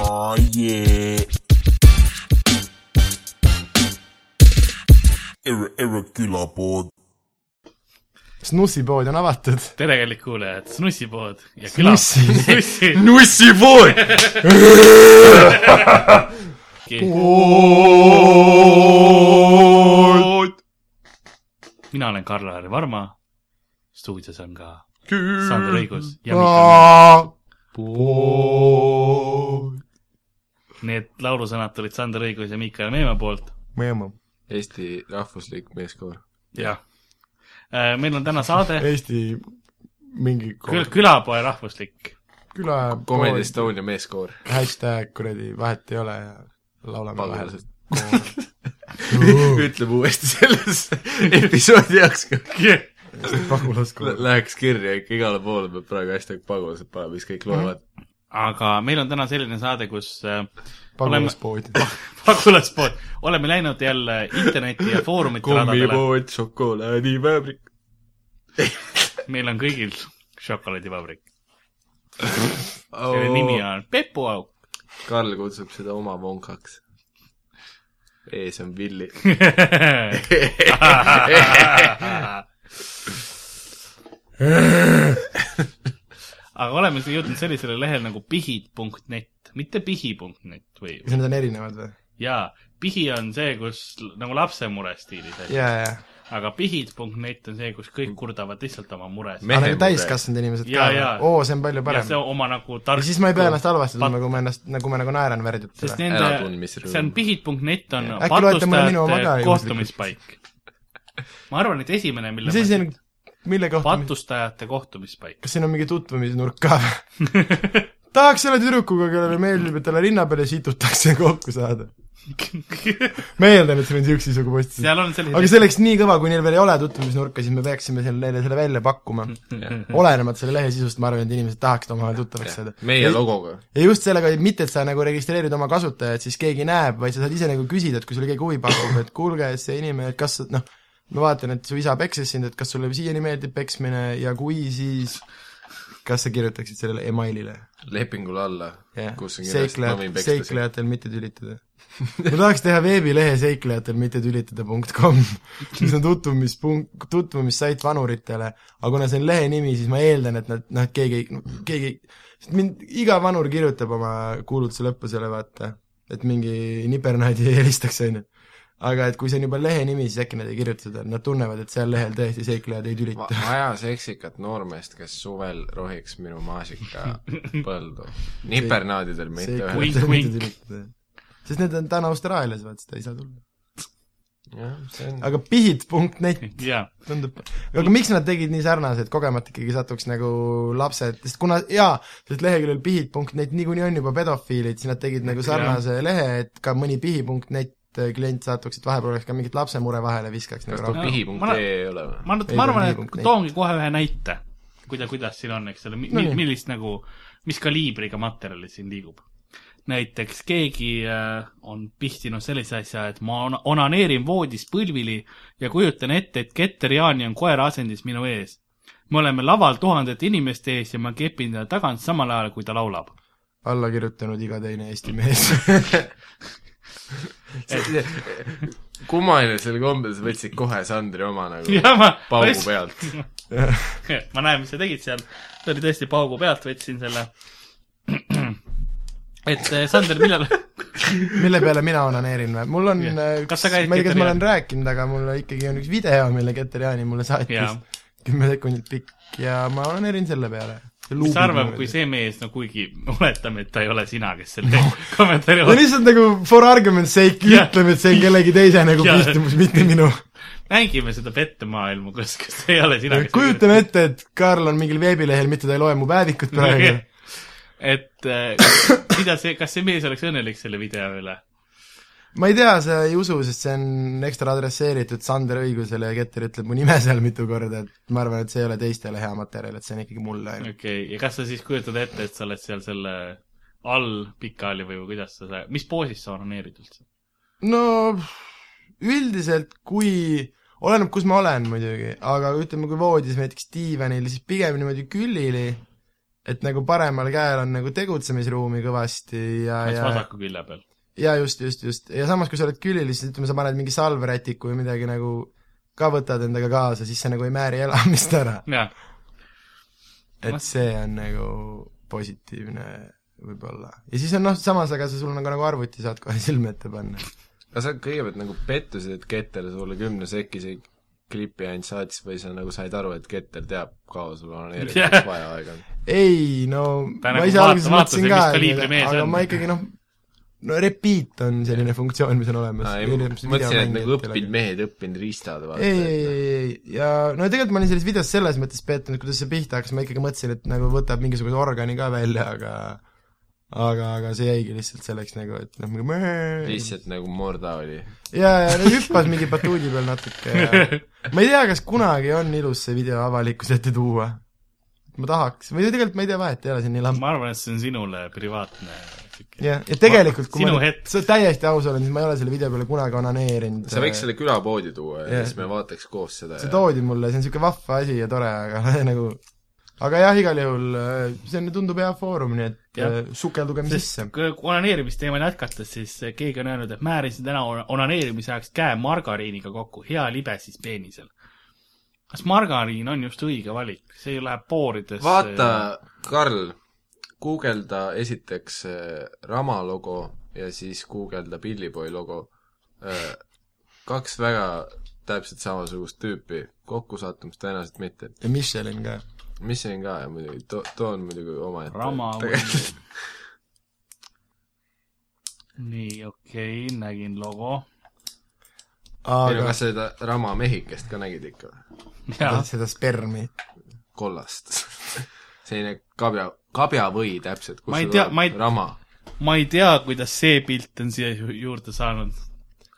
Oh yeah. Erre, erre külapood . snussipood on avatud . tere , kallid kuulajad , snussipood ja küla . Snussi- snussi . nussipood . mina olen Karl-Lari Varma . stuudios on ka Sander Õigus ja Mikal . pood . Need laulusõnad tulid Sander Õigus ja Miikal Meemaa poolt . mõõmu . Eesti rahvuslik meeskoor . jah . Äh, meil on täna saade Eesti mingi Kül külapoe rahvuslik . küla . Comedy . Estonia meeskoor . hashtag kuradi vahet ei ole ja laulame vahel . pagulased . ütleme uuesti selles episoodi jaoks , pagulaskuu . läheks kirja ikka igale poole peab praegu hashtag pagulased panema , siis kõik loevad . aga meil on täna selline saade , kus äh, pagulaspood . pagulaspood , oleme läinud jälle interneti ja foorumite radadele . kommipood , šokolaadipäevrik . meil on kõigil šokolaadivabrik . selle nimi on Pepuauk . Oh, Karl kutsub seda oma vonkaks . ees on Villi . aga oleme siis jõudnud sellisele lehele nagu pihid.net , mitte pihi.net või , kas need on erinevad või ? jaa , pihi on see , kus nagu lapsemure stiilis asi , ja , ja . aga pihid.net on see , kus kõik kurdavad lihtsalt oma muresid . aga need on täiskasvanud inimesed Jaa, ka jaa. . oo , see on palju ja parem see . on oma nagu ja tark . siis ma ei pea ennast halvasti Pat- tundma , kui ma ennast , nagu ma nagu naeran sest värdjutele . nende Äratundmisrõõm. , see on pihid.net on Äkki loete mulle minu oma ka patustajate juhuslikult? kohtumispaik . ma arvan , et esimene , mille mis asi ma on , mille kohta , patustajate kohtumispaik . kas siin on mingi tutvumisnurk ka või ? tahaks selle tüdrukuga , kellele meeldib , et talle rinna peale situtakse kokku saada . ma eeldan , et see on niisuguse sugu postis . seal on sellised aga see oleks nii kõva , kui neil veel ei ole tutvumisnurka , siis me peaksime selle , neile selle välja pakkuma . olenemata selle lehe sisust , ma arvan , et inimesed tahaksid omavahel tuttavaks saada . meie logoga . ja just sellega , et mitte , et sa nagu registreerid oma kasutajat , siis keegi näeb , vaid sa saad ise nagu küsida , et kui sulle keegi huvi pakub , et kuulge , see inimene , et kas sa- noh , ma vaatan , et su isa peksis sind , et kas sulle siiani meeldib peksmine ja kui , siis kas sa kirjutaksid sellele emailile ? lepingule alla , jah , kus on kirjas , et ma võin seiklejad , peksta sind . seiklejatel mitte tülitada . ma tahaks teha veebilehe seiklejatel mitte tülitada punkt kom , mis on tutvumispunkt , tutvumissait vanuritele , aga kuna see on lehe nimi , siis ma eeldan , et nad , noh , keegi , keegi , sest mind , iga vanur kirjutab oma kuulutuse lõppu selle , vaata , et mingi nipernaadi ei helistaks , on ju aga et kui see on juba lehe nimi , siis äkki nad ei kirjuta seda , nad tunnevad , et seal lehel tõesti seiklejad ei ma tülita . vaja seksikat noormeest , kes suvel rohiks minu maasika põldu . nipernaadidel mitte ühel . Wink, wink. sest need on täna Austraalias , vaata , seda ei saa tulla . jah , see on , aga pihid.net jaa , tundub , aga miks nad tegid nii sarnase , et kogemata ikkagi satuks nagu lapsed , sest kuna jaa , sest leheküljel pihi.net niikuinii on juba pedofiilid , siis nad tegid nagu sarnase lehe , et ka mõni pihi.net klient satuks , et vahepeal oleks ka mingit lapsemure vahele viskaks kas nagu too rohkem . Ma- pihi.ee ei ole või ? ma nüüd , Ei, ma ta on arvan , nii et punkt toongi kohe ühe näite , kuida- , kuidas siin on , eks ole , mi- , Nonii. millist nagu , mis kaliibriga materjali siin liigub . näiteks keegi äh, on pihtinud sellise asja , et ma on- onaneerin voodis põlvili ja kujutan ette , et Keter Jaani on koera asendis minu ees . me oleme laval tuhandete inimeste ees ja ma kepin teda tagant samal ajal , kui ta laulab . alla kirjutanud iga teine Eesti mees . kummaline selle kombel , sa võtsid kohe Sandri oma nagu ja ma , ma paugu just , pealt . ma näen , mis sa tegid seal , see oli tõesti paugu pealt , võtsin selle . et eh, Sander , millal , mille peale mina onaneerin või ? mul on Jah. yeah. Kas üks ma sa , ei tea , käid kas ma Keterjaani- olen rääkinud , aga mul ikkagi on üks video , mille Keter Jaani mulle Jaa. saatis . kümme sekundit pikk ja ma onaneerin selle peale . mis sa arvad , kui see mees , no kuigi oletame , et ta ei ole sina , kes selle kommentaari no oli , lihtsalt nagu for argument's sake Jah. ütleme , et see on kellegi teise nagu Jah. pihtimus , mitte minu . mängime seda pettemaailma , kus , kus ei ole sina , kes kujutame ette , et Karl on mingil veebilehel , mitte ta ei loe mu päevikut praegu . et eh, mida see , kas see mees oleks õnnelik selle video üle ? ma ei tea , sa ei usu , sest see on ekstra adresseeritud Sander Õigusele ja Keter ütleb mu nime seal mitu korda , et ma arvan , et see ei ole teistele hea materjal , et see on ikkagi mulle okei ainult . okay. , ja kas sa siis kujutad ette , et sa oled seal selle all pikali või kuidas sa , mis poosis sa onaneerid üldse ? no üldiselt , kui , oleneb , kus ma olen muidugi , aga ütleme , kui voodis näiteks diivanil , siis pigem niimoodi külili et nagu paremal käel on nagu tegutsemisruumi kõvasti ja , kas ja vasaku külje peal ? ja just , just , just , ja samas , kui sa oled külili , siis ütleme , sa paned mingi salvrätiku või midagi nagu ka võtad endaga kaasa , siis see nagu ei määri elamist ära . jah , et see on nagu positiivne võib-olla . ja siis on noh , samas , aga sa , sul on nagu , nagu arvuti saad kohe silme ette panna . aga sa kõigepealt nagu pettusid , et Keter sulle kümne sekkise klipi ainult saatis või sa nagu said aru , et Keter teab , kaua sul Jah. onaneerimiseks vaja aega on ? ei no , Ta ma nagu ise vaata- alguses vaatas, mõtlesin et ka mis , kaliibri mees aga on. ma ikkagi noh , no repeat on selline funktsioon , mis on olemas . ei , ma mõtlesin , et nagu õppinud mehed , õppinud riistad , vaata . ei , ei , ei , ei , ja no tegelikult ma olin selles videos selles mõttes pettunud , kuidas see pihta hakkas , ma ikkagi mõtlesin , et nagu võtab mingisuguse organi ka välja , aga aga , aga see jäigi lihtsalt selleks nagu , et noh , mingi mõõõõõ. lihtsalt nagu morda oli . jaa , ja ta hüppas mingi batuudi peal natuke ja ma ei tea , kas kunagi on ilus see video avalikkuse ette tuua . ma tahaks , või tegelikult ma ei tea vahet , ei ole siin nii lamp . ma arvan , et see on sinule privaatne sihuke . jah , ja tegelikult kui Sinu ma hetk. sa täiesti aus olen , siis ma ei ole selle video peale kunagi onaneerinud . sa võiks selle külapoodi tuua ja Jah. siis me vaataks koos seda see ja toodi mulle , see on niisugune vahva asi ja tore , aga nagu aga jah , igal juhul äh, see on , tundub hea foorum , nii et Jah. äh, sukeldugem sest sisse . kui kui onaneerimisteemal jätkates , siis keegi on öelnud , et määrisin täna on- onaneerimise ajaks käe margariiniga kokku , hea libe siis peenisel . kas margariin on just õige valik , see ju läheb pooridesse . vaata , Karl , guugelda esiteks äh, Rama logo ja siis guugelda Pillipoi logo . kaks väga täpselt samasugust tüüpi , kokkusattumust tõenäoliselt mitte . ja Michelin ka . mis siin ka ja muidugi , too , too on muidugi omaette . rama . äh, nii , okei okay, , nägin logo . ei no aga kas sa seda Rama mehikest ka nägid ikka või ? jah , seda spermi . kollast . selline kabja , kabjavõi täpselt , Ma kust ei see tea- tuleb. ma ei- Rama . ma ei tea , kuidas see pilt on siia ju- juurde saanud .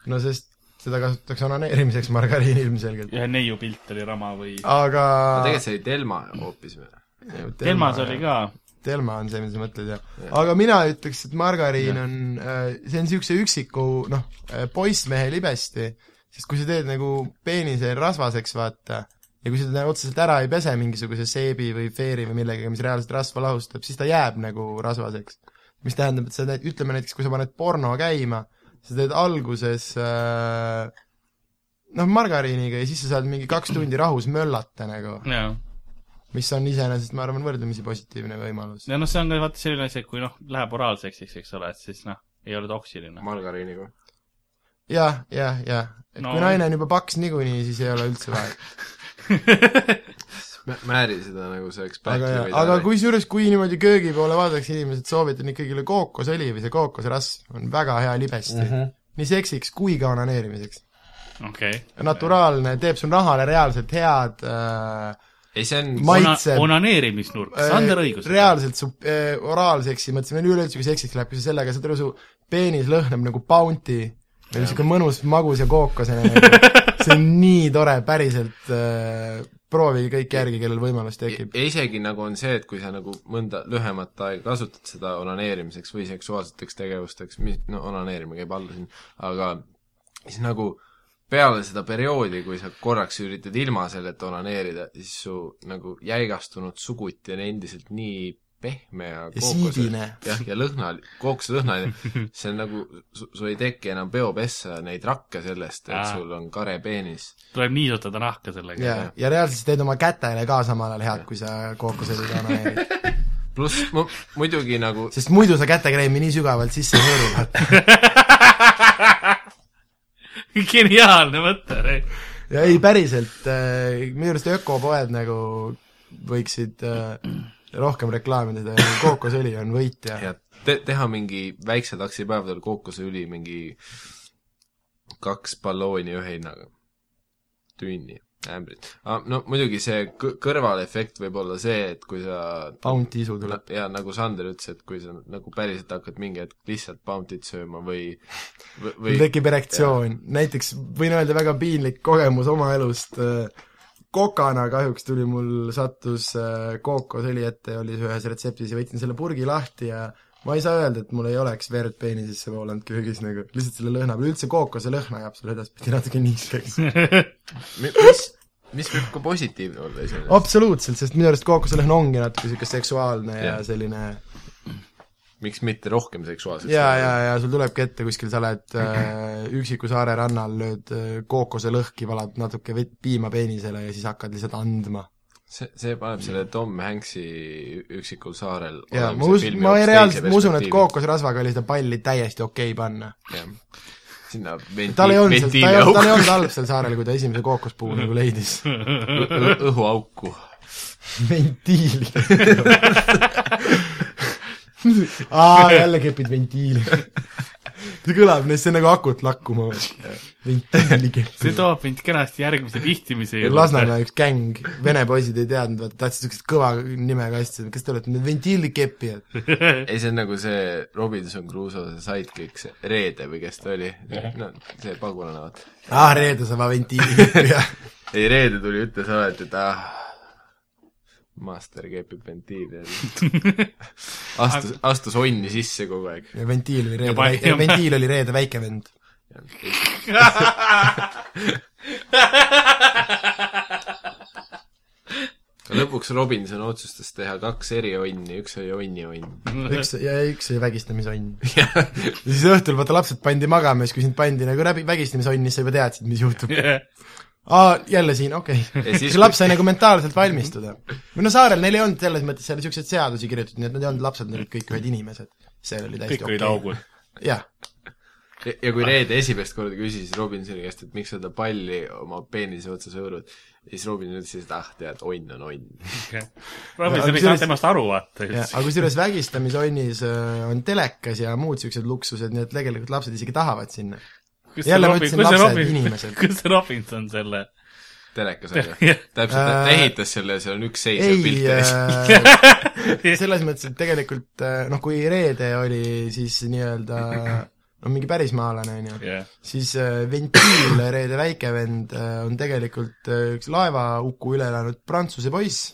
no sest seda kasutatakse onaneerimiseks , margariini ilmselt . ühe neiu pilt oli rama või . aga tegelikult see oli Delma hoopis või ? Telmas oli ka . Telma on see , mida sa mõtled , jah . aga mina ütleks , et margariin on , see on niisuguse üksiku noh , poissmehe libesti , sest kui sa teed nagu peenise rasvaseks , vaata , ja kui sa teda otseselt ära ei pese mingisuguse seebi või feeri või millegagi , mis reaalselt rasva lahustab , siis ta jääb nagu rasvaseks . mis tähendab , et sa teed , ütleme näiteks , kui sa paned porno käima , sa teed alguses äh, noh , margariiniga ja siis sa saad mingi kaks tundi rahus möllata nagu , jah mis on iseenesest , ma arvan , võrdlemisi positiivne võimalus . ja noh , see on ka vaata selline asi , et kui noh , läheb oraalseksiks , eks ole , et siis noh , ei ole toksiline . noh. margariiniga . jah , jah , jah . et No. kui naine on juba paks niikuinii , siis ei ole üldse vahet . määri seda nagu see ekspert . aga , aga . kusjuures , kui niimoodi köögi poole vaadatakse , inimesed soovitan ikkagi kookosõli või see kookosrasv on väga hea libesti Mhm. uh . -huh. nii seksiks kui ka onaneerimiseks . okei . naturaalne , teeb su nahale reaalselt head äh, ei , see on Ma- Maitseb. onaneerimisnurk , Äh, Sander õigus . reaalselt su äh, oraalseksi , mõttes meil üleüldse , kui seksiks läheb , kui sa sellega , saad aru , su peenis lõhnab nagu bounty või niisugune mõnus magus ja kookosena nagu. . see on nii tore , päriselt äh, proovige kõik järgi , kellel võimalus tekib . ja isegi nagu on see , et kui sa nagu mõnda lühemat aega kasutad seda onaneerimiseks või seksuaalseteks tegevusteks , mis , no onaneerimine käib alla siin , aga siis nagu peale seda perioodi , kui sa korraks üritad ilma selleta onaneerida , siis su nagu jäigastunud suguti on endiselt nii pehme ja Ja kookose- siidine. jah , ja lõhna , kookoselõhnaline , see on nagu , sul ei teki enam peopessa neid rakke sellest , et Aa. sul on kare peenis . tuleb niisutada nahka sellega . ja , ja reaalselt sa teed oma kätele ka samal ajal head , kui sa kookosõliga onaneerid . pluss mu- , muidugi nagu sest muidu sa kätekreemi nii sügavalt sisse hõõrud . geniaalne mõte . ja ei , päriselt , minu arust ökopoed nagu võiksid äh, rohkem reklaamida seda , kookosõli on võit ja ja te- , teha mingi väikse taksi päevadel kookoseõli mingi kaks ballooni ühe hinnaga . tünni , ämbrit ah, . no muidugi see kõ- kõrvalefekt võib olla see , et kui sa bounty isu tuleb . ja nagu Sander ütles , et kui sa nagu päriselt hakkad mingi hetk lihtsalt Bounty't sööma või , või mul tekib erektsioon , näiteks võin öelda väga piinlik kogemus oma elust , kokana kahjuks tuli mul , sattus äh, kookosõli ette , oli ühes retseptis ja võtsin selle purgi lahti ja ma ei saa öelda , et mul ei oleks verd peenisesse voolanud köögis nagu , lihtsalt selle lõhna peal , üldse kookose lõhna jääb sulle edaspidi natuke niiskeks . Mi- mis , mis võib ka positiivne olla iseenesest . absoluutselt , sest minu arust kookoselõhn ongi natuke niisugune seksuaalne ja Jah. selline miks mitte rohkem seksuaalseks ja , ja , ja sul tulebki ette kuskil , sa oled äh, üksiku saare rannal , lööd äh, kookose lõhki , valad natuke vett piima peenisele ja siis hakkad lihtsalt andma . see , see paneb selle Tom Hanks'i Üksikul saarel ja ma olemise usun , filmi ma hoopis reaalselt , teise ma usun , et perspektiivi. kookosrasvaga oli seda palli täiesti okei okay panna . Jah. sinna venti- tal ei olnud seal , tal ei olnud , tal ei ventiiliauku , olnud halb seal saarel , kui ta esimese kookospuu nagu leidis . õhuauku . ventiili . aa , jälle kepid ventiili . see kõlab , see on nagu akut lakkuma . ventiili see kepib . toob mind kenasti järgmise vihtimise juurde . Lasnamäe üks gäng , vene poisid ei teadnud , vaata tahtsid siukest kõva nimega asja , kas te olete need ventiilikepijad ? ei , see on nagu see Robinson Crusoe see sidekick , see Reede või kes ta oli , no see pagulane , vaata . aa , Ah, reede sa oled ventiilikepija . ei , Reede tuli , ütles alati , et ah , master kepib ventiili ja astus , astus onni sisse kogu aeg . ventiil oli Ja pani- reede , ventiil oli reede väike vend . lõpuks Robinson otsustas teha kaks eri onni , üks oli onnionni . üks ja üks oli vägistamisonn . ja siis õhtul vaata lapsed pandi magama ja siis kui sind pandi nagu läbi vägistamisonni , siis sa juba teadsid , mis juhtub . aa , jälle siin , okei okay. . Ja siis- siis laps sai nagu mentaalselt valmistuda . või no saarel neil ei olnud selles mõttes seal niisuguseid seadusi kirjutatud , nii et nad ei olnud lapsed , nad olid kõik ühed inimesed . seal oli täiesti kõik olid augud . Okay. jah , ja kui Reede esimest korda küsis Robinsoni käest , et miks sa seda palli oma peenise otsas hõõrud , siis Robinson ütles , et ah , tead , onn on onn . Robinson ei saanud temast aru , vaata . aga kusjuures vägistamisonnis öö, on telekas ja muud niisugused luksused , nii et tegelikult lapsed isegi tahavad sinna . jälle ma ütlesin lapsed, inimesed. kus see Robinson selle , telekas on ju Jah. . täpselt , ta Äh, ehitas selle , seal on üks seis ja ei pilt ees . äh, , selles mõttes , et tegelikult äh, noh , kui Reede oli siis nii-öelda no mingi pärismaalane , on ju jah . siis äh, Ventiil , Reede väikevend , on tegelikult äh, üks laevauku üle elanud prantsuse poiss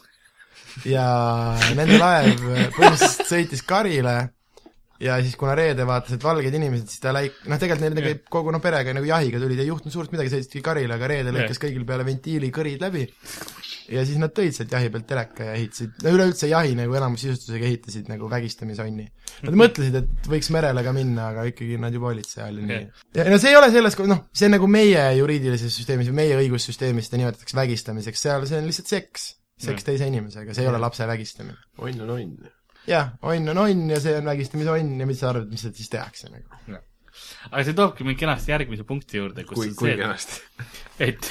ja nende laev äh, põhimõtteliselt sõitis karile ja siis , kuna Reede vaatas , et valged inimesed , siis ta läik- , noh , tegelikult neil nagu kogu noh , perega nagu jahiga tulid , ei juhtunud suurt midagi , sõitsidki karile , aga Reede lõikas kõigil peale ventiili kõrid läbi ja siis nad tõid sealt jahi pealt teleka ja ehitasid , no üleüldse jahi nagu enamus sisustusega ehitasid nagu vägistamisonni . Nad mõtlesid , et võiks merele ka minna , aga ikkagi nad juba olid seal ja nii . ja no see ei ole selles , noh , see on nagu meie juriidilises süsteemis või meie õigussüsteemis seda nimetatakse vägistamiseks , seal see on lihtsalt seks . seks teise inimesega , see ei ole lapse vägistamine . onn on onn . jah , onn on onn ja see on vägistamisonn ja mis sa arvad , mis sealt siis tehakse nagu ? aga see toobki mind kenasti järgmise punkti juurde , kus kui , on kui see , kenasti . et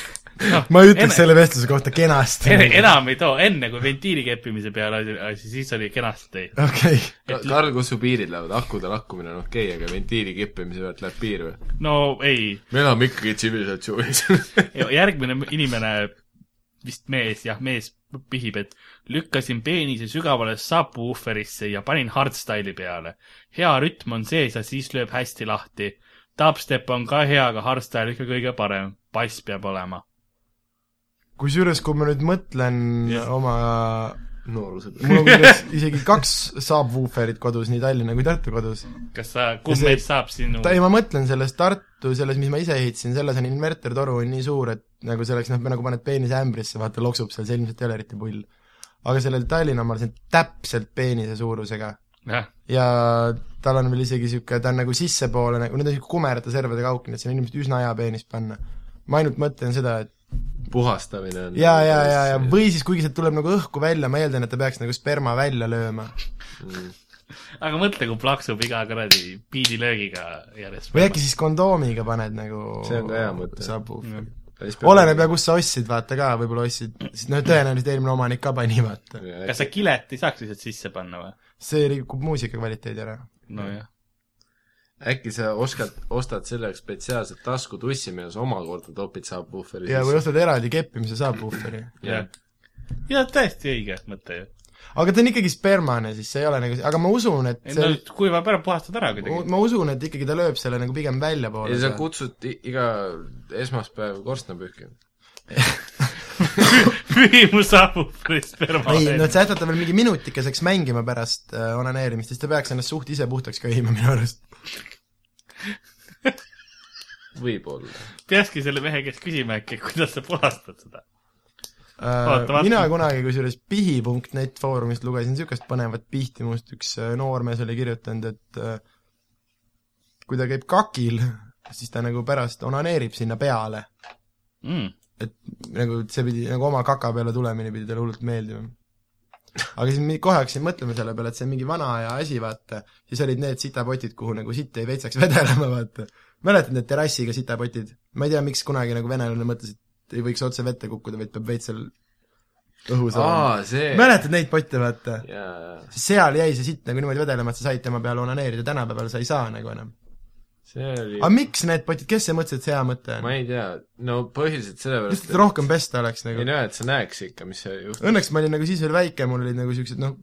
noh, ma ei ütleks enne- selle vestluse kohta kenasti . nagu. enne- enam ei too , enne kui ventiili keppimise peale asi , asi , siis oli kenasti . okei , Karl , kus su piirid lähevad , akude lakkumine on okei okay, , aga ventiili kippimise pealt läheb piir või ? no ei , me elame ikkagi tsivilisatsioonis . järgmine inimene , vist mees , jah , mees pihib , et lükkasin peenise sügavale subwooferisse ja panin hardstyle'i peale . hea rütm on sees ja siis lööb hästi lahti . Dubstep on ka hea , aga hardstyle ikka kõige parem . bass peab olema . kusjuures , kui ma nüüd mõtlen Jah. oma , nooruse mul on peal . kusjuures isegi kaks subwooferit kodus , nii Tallinna kui Tartu kodus . kas sa , kumb see- meist saab sinu ta , ei , ma mõtlen selles Tartu , selles , mis ma ise ehitasin , selles on invertertoru on nii suur , et nagu selleks , noh , nagu paned peenise ämbrisse , vaata loksub seal , see ilmselt ei ole eriti pull . aga sellel Tallinna omal , see on täpselt peenise suurusega jah , ja tal on veel isegi niisugune , ta on nagu sissepoole nagu , need on niisugune kumerate servade kaugküljed , see on ilmselt üsna hea peenist panna . ma ainult mõtlen seda , et puhastamine on ja , ja , ja , ja või siis kuigi sealt tuleb nagu õhku välja , ma eeldan , et ta peaks nagu sperma välja lööma . aga mõtle , kui plaksub iga kuradi piidilöögiga järjest . või äkki siis kondoomiga paned nagu See on ka hea mõte. Mm. sabu . või oleneb ja . kus sa ostsid , vaata ka , võib-olla ostsid , siis noh , tõenäoliselt eelmine omanik ka pani , vaata . kas sa kilet ei saaks lihtsalt sisse panna või ? see rikub muusika kvaliteedi ära . nojah . äkki sa oskad , ostad selleks spetsiaalset taskutussi , milles omakorda topid subwooferi ja või ostad eraldi keppimise saabpuhveri . Jah. jah , täiesti õige mõte ju . aga ta on ikkagi spermane , siis see ei ole nagu , aga ma usun , et ei see no kuivab ära , puhastad ära kuidagi . ma usun , et ikkagi ta lööb selle nagu pigem väljapoole ja . sa kutsud i- iga esmaspäev korstnapühki . pühi mu saabuprist perma ei , no sees . sätata veel mingi minutikeseks mängima pärast äh, onaneerimist , siis ta peaks ennast suht ise puhtaks köhima minu arust . võib-olla . peakski selle mehe käest küsima äkki , kuidas sa puhastad seda . Vaata, vaata. mina kunagi kusjuures pihi.net foorumist lugesin niisugust põnevat pihtimust, üks äh, noormees oli kirjutanud, et äh, kui ta käib kakil , siis ta nagu pärast onaneerib sinna peale . mm. . et nagu see pidi , nagu oma kaka peale tulemine pidi talle hullult meeldima . aga siis mi- kohe hakkasin mõtlema selle peale , et see on mingi vana aja asi , vaata , siis olid need sitapotid , kuhu nagu sitt jäi veitsaks vedelema , vaata . mäletad need terrassiga sitapotid ? ma ei tea , miks kunagi nagu venelane mõtles , et ei võiks otse vette kukkuda , vaid peab veits seal õhus olema . aa , see . mäletad neid potte , vaata ? jaa , jaa . seal jäi see sitt nagu niimoodi vedelema , et sa said tema peale onaneerida , tänapäeval sa ei saa nagu enam . see aga oli , miks need potid , kes see mõtles , et see hea mõte on ma ? ei tea , no põhiliselt sellepärast , lihtsalt rohkem pesta oleks et nagu ei . no , et sa näeks ikka , mis seal juhtub . õnneks ma olin nagu siis veel väike , mul olid nagu siuksed noh ,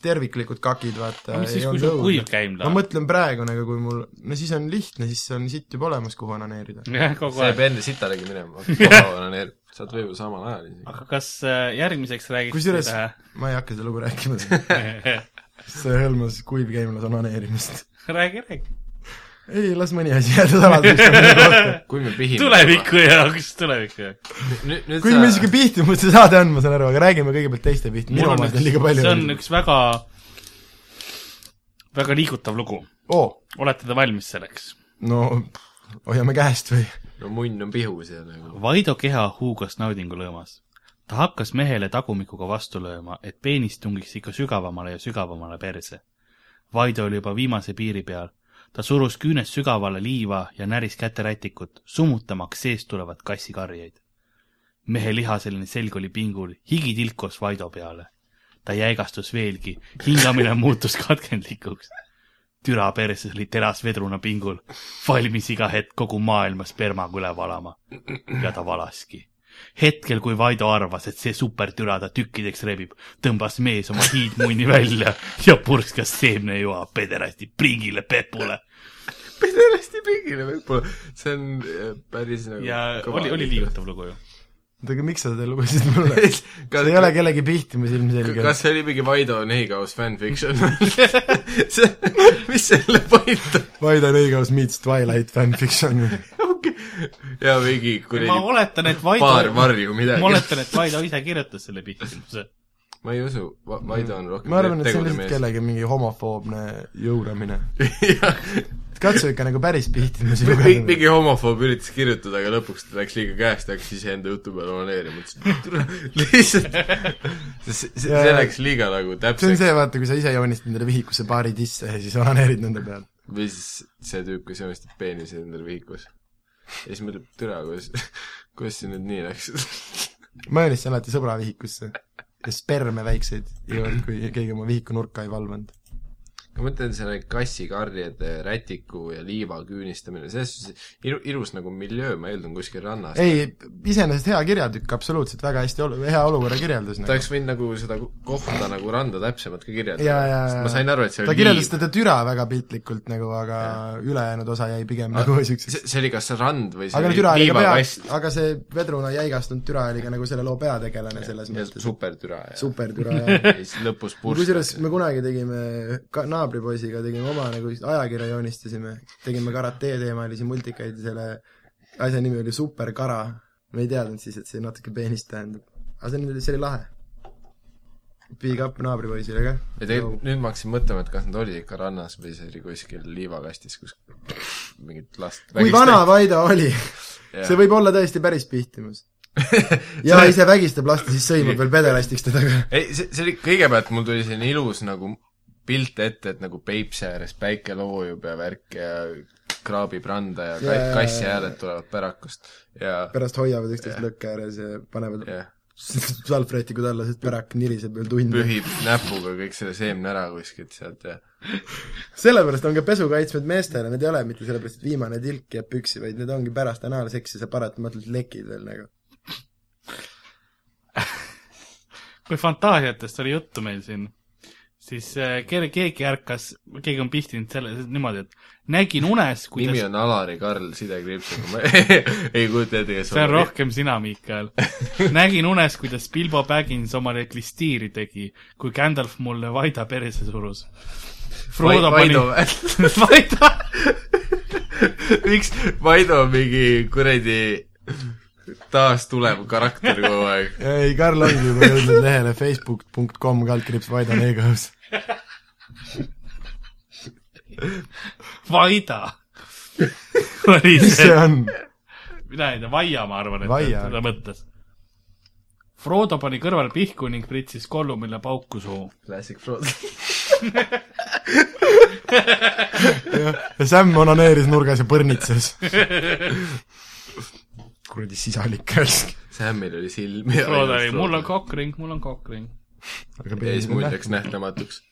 terviklikud kakid , vaata . aga mis siis , kui sul kuiv käima ma läheb ? mõtlen praegu nagu , kui mul , no siis on lihtne , siis on sitt juba olemas , kuhu onaneerida . jah , kogu sa ei aeg . pea enne sitalegi minema , onaneerib . saad võib-olla samal ajal isegi . aga kas äh, järgmiseks räägid kusjuures ma ei hakka seda lugu rääkima , seda ? see hõlmas kuivkäimlas onaneerimist . räägi , räägi . ei , las mõni asi jääda saladuseks minu kohta . kui me pihime . tuleviku jaoks , tuleviku jaoks . nüüd , nüüd kuigi meil siuke pihtimuste saade on , ma saan aru , aga räägime kõigepealt teiste pihti , minu omast on liiga palju . see on . üks väga , väga liigutav lugu . oo , olete te valmis selleks ? no hoiame käest või ? no munn on pihus ja nagu . Vaido keha huugas naudingu lõõmas . ta hakkas mehele tagumikuga vastu lööma , et peenis tungiks ikka sügavamale ja sügavamale perse . Vaido oli juba viimase piiri peal . ta surus küünest sügavale liiva ja näris käterätikut , summutamaks seest tulevat kassikarjeid . mehe lihaseline selg oli pingul , higi tilkus Vaido peale . ta jäigastus veelgi , hingamine muutus katkendlikuks . türa perses oli teras vedruna pingul , valmis iga hetk kogu maailma spermaga üle valama ja ta valaski . hetkel , kui Vaido arvas , et see supertüra ta tükkideks rebib , tõmbas mees oma hiidmunni välja ja purskas seemnejoa pederasti pringile Pepule . pederasti pingile võib-olla . see on äh, päris nagu . ja oli , oli . liigutav lugu ju . oota , aga miks sa seda lugesid mulle ? kas see ei ole kellegi pihtimus kas ilmselgelt . see oli mingi Vaido Neigaus fanfiction ? see , mis selle point on ? Vaido Nõigaus meets Twilight fanfiction või ? ja mingi ma kuradi oletan , et paar Vaido , varju midagi . ma oletan , et Vaido ise kirjutas selle pihtimuse . ma ei usu , Vaido on rohkem ma arvan , et see on tegude lihtsalt kellegi mingi homofoobne jõuramine . mees . katsu ikka nagu päris pihtimusi mingi , lugeda . mingi homofoob üritas kirjutada , aga lõpuks ta läks liiga käest , hakkas iseenda jutu peale onaneerima , ütles et tule lihtsalt , see , see läks liiga nagu see on täpseks see , vaata , kui sa ise joonistad endale vihikusse paari tisse ja siis onaneerid nende peal . või siis see tüüp , kes joonistab peenise endale vihikus . ja siis mõtleb , türa , kuidas , kuidas see nüüd nii läks . ma joonistasin alati sõbra vihikusse ja sperme väikseid ei olnud , kui keegi oma vihiku nurka ei valvanud . ma mõtlen selle kassikarjede , rätiku ja liiva küünistamine , selles suhtes ilu- , ilus nagu miljöö , ma eeldan , kuskil rannas . ei , iseenesest hea kirjatükk , absoluutselt väga hästi olu- , hea olukorra kirjeldus ta nagu. . oleks võinud nagu seda kohta nagu randa täpsemalt ka ja , ja kirjeldada ,, sest ja ma sain aru , et see ta oli kirjeldas liiv . seda türa väga piltlikult nagu , aga ülejäänud osa jäi pigem Aga- nagu siukseks see , see oli kas rand või see aga no oli türa oli ka liivakast pea , aga see vedruna jäigastunud türa oli ka nagu selle loo peategelane selles ja mõttes . supertüra ja Sup supertüra jah . ja siis lõpus kusjuures purstas me kunagi tegime ka naabripoisiga , tegime oma nagu ajakirja joonistasime , tegime karate teemalisi multikaid ja selle asja nimi oli Superkara . me ei teadnud siis , et see natuke peenist tähendab . aga see oli , see oli lahe . Big up naabripoisile ka . ja tegelikult nüüd ma hakkasin mõtlema , et kas nad olid ikka rannas või see oli kuskil liivakastis , kus mingit last kui vana Vaido oli ? see võib olla tõesti päris pihtimus . ja ise vägistab last ja siis sõimab veel pedelastiks teda ka . ei , see , see oli , kõigepealt mul tuli selline ilus nagu pilt ette , et nagu Peipsi ääres päike loojub ja värk ja kraabib randa ja Jaa. ka- kassi hääled tulevad pärakust ja pärast hoiavad üksteist lõkke ääres ja panevad jah , salvrätikud alla , sest pärak niriseb veel tunde . pühib näpuga kõik selle seemne ära kuskilt sealt ja sellepärast on ka pesukaitsmed meestele , need ei ole mitte sellepärast , et viimane tilk jääb püksi , vaid need ongi pärast anaalseksi , sa paratamatult lekid veel nagu . kui fantaasiatest oli juttu meil siin , siis äh, ke- keegi ärkas , keegi on pihtinud selle , niimoodi , et nägin unes , nimi kuidas on Alari Karl Sidekriipsuga , ma ei kujuta ette , kes see on rohkem sina , Miikael . nägin unes , kuidas Bilbo Baggins omale klistiiri tegi , kui Gandalf mulle Vaida perse surus . Frodo pani , Vaido pani... , Vaida , miks Vaido mingi kuradi taas tulev karakter kogu aeg . ei , Karl ongi juba jõudnud lehele facebook.com kaldkriips Vaidan Eeghaus . Vaida oli mis see see , on ? mina ei tea , Vaia , ma arvan , et Vaia. ta- ta mõtles . Frodo pani kõrvale pihku ning pritsis kollu , mille pauku suhu . Classic fraud . ja Sam onaneeris nurgas ja põrnitses . kuradi sisalik raisk . Samil oli silm ja Frodo oli , mul on kokkring , mul on kokkring . ja siis mull läks nähtamatuks .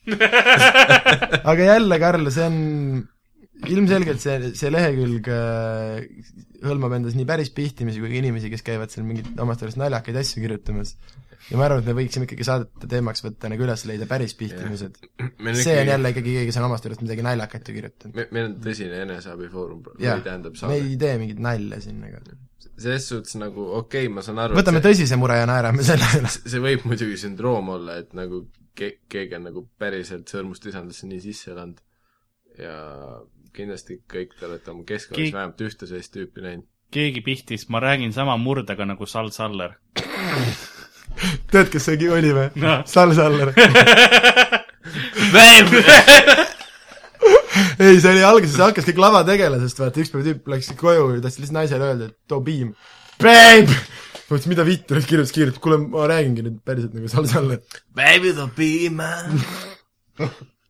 aga jälle , Karl , see on ilmselgelt see , see lehekülg äh, hõlmab endas nii päris pihtimisi kui ka inimesi , kes käivad seal mingeid omast arust naljakaid asju kirjutamas . ja ma arvan , et me võiksime ikkagi saadete teemaks võtta nagu üles leida päris pihtimised . see on . jälle ikkagi keegi , kes on omast arust midagi naljakat ju kirjutanud . meil on tõsine eneseabifoorum , jah või , tähendab me saade . ei tee mingit nalja siin ega . selles suhtes nagu okei okay, , ma saan aru , võtame tõsise mure ja naerame selle üle . see, see võib muidugi sündroom olla , et nagu ke- , keegi on nagu päriselt sõrmustisandusse nii sisse elanud ja kindlasti kõik te olete oma keskkonnas Keegi- vähemalt ühte sellist tüüpi näinud . keegi pihtis , ma räägin sama murdega nagu Sal Saller . tead , kes see oli või No. ? Sal Saller . veel ? ei , see oli alguses , hakkas kõik lavategelasest , vaata , üks päev tüüp läks koju ja tahtis lihtsalt naisele öelda , et too piim . Babe! ma mõtlesin , mida vitt , ta kirjutas kiirelt , kuule , ma räägingi nüüd päriselt nagu Sal-Salle . Baby the beamer ,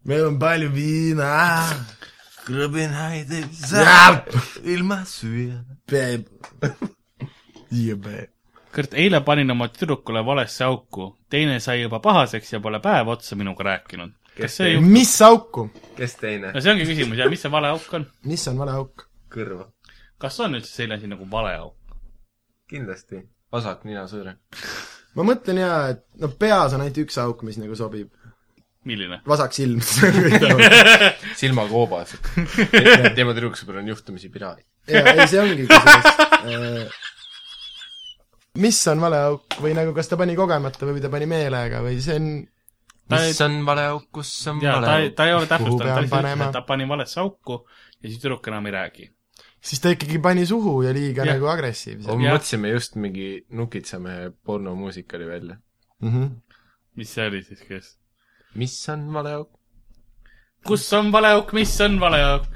meil on palju viina . krõbin haideb ilma süüa . Babe . Yeah, babe . Kurt , eile panin oma tüdrukule valesse auku , teine sai juba pahaseks ja pole päev otsa minuga rääkinud . kas see ju , mis auku ? kes teine no ? see ongi küsimus ja mis see vale auk on ? mis on vale auk ? kõrva . kas on üldse selline asi nagu vale auk ? kindlasti vasak ninasõõre . ma mõtlen jaa , et no peas on ainult üks auk , mis nagu sobib . milline ? vasak silm . silmakoobas . tema tüdruksõber on juhtumisi piraat . jaa , ei see ongi kusjuures . mis on vale auk või nagu kas ta pani kogemata või ta pani meelega või see on Ta mis on vale auk , kus on jaa , vale ta ei , auk ? ta ei ole täpsustanud , pean ta lihtsalt ütles , panema? et ta pani valesse auku ja siis tüdruk enam ei räägi . siis ta ikkagi pani suhu ja liiga Jah. ja. nagu agressiivselt Oh, me Jah. mõtlesime just mingi nukitsamehe pornomuusikali välja . mm . -hmm. mis see oli siis , kes ? mis on vale auk ? kus on vale auk , mis on vale auk ?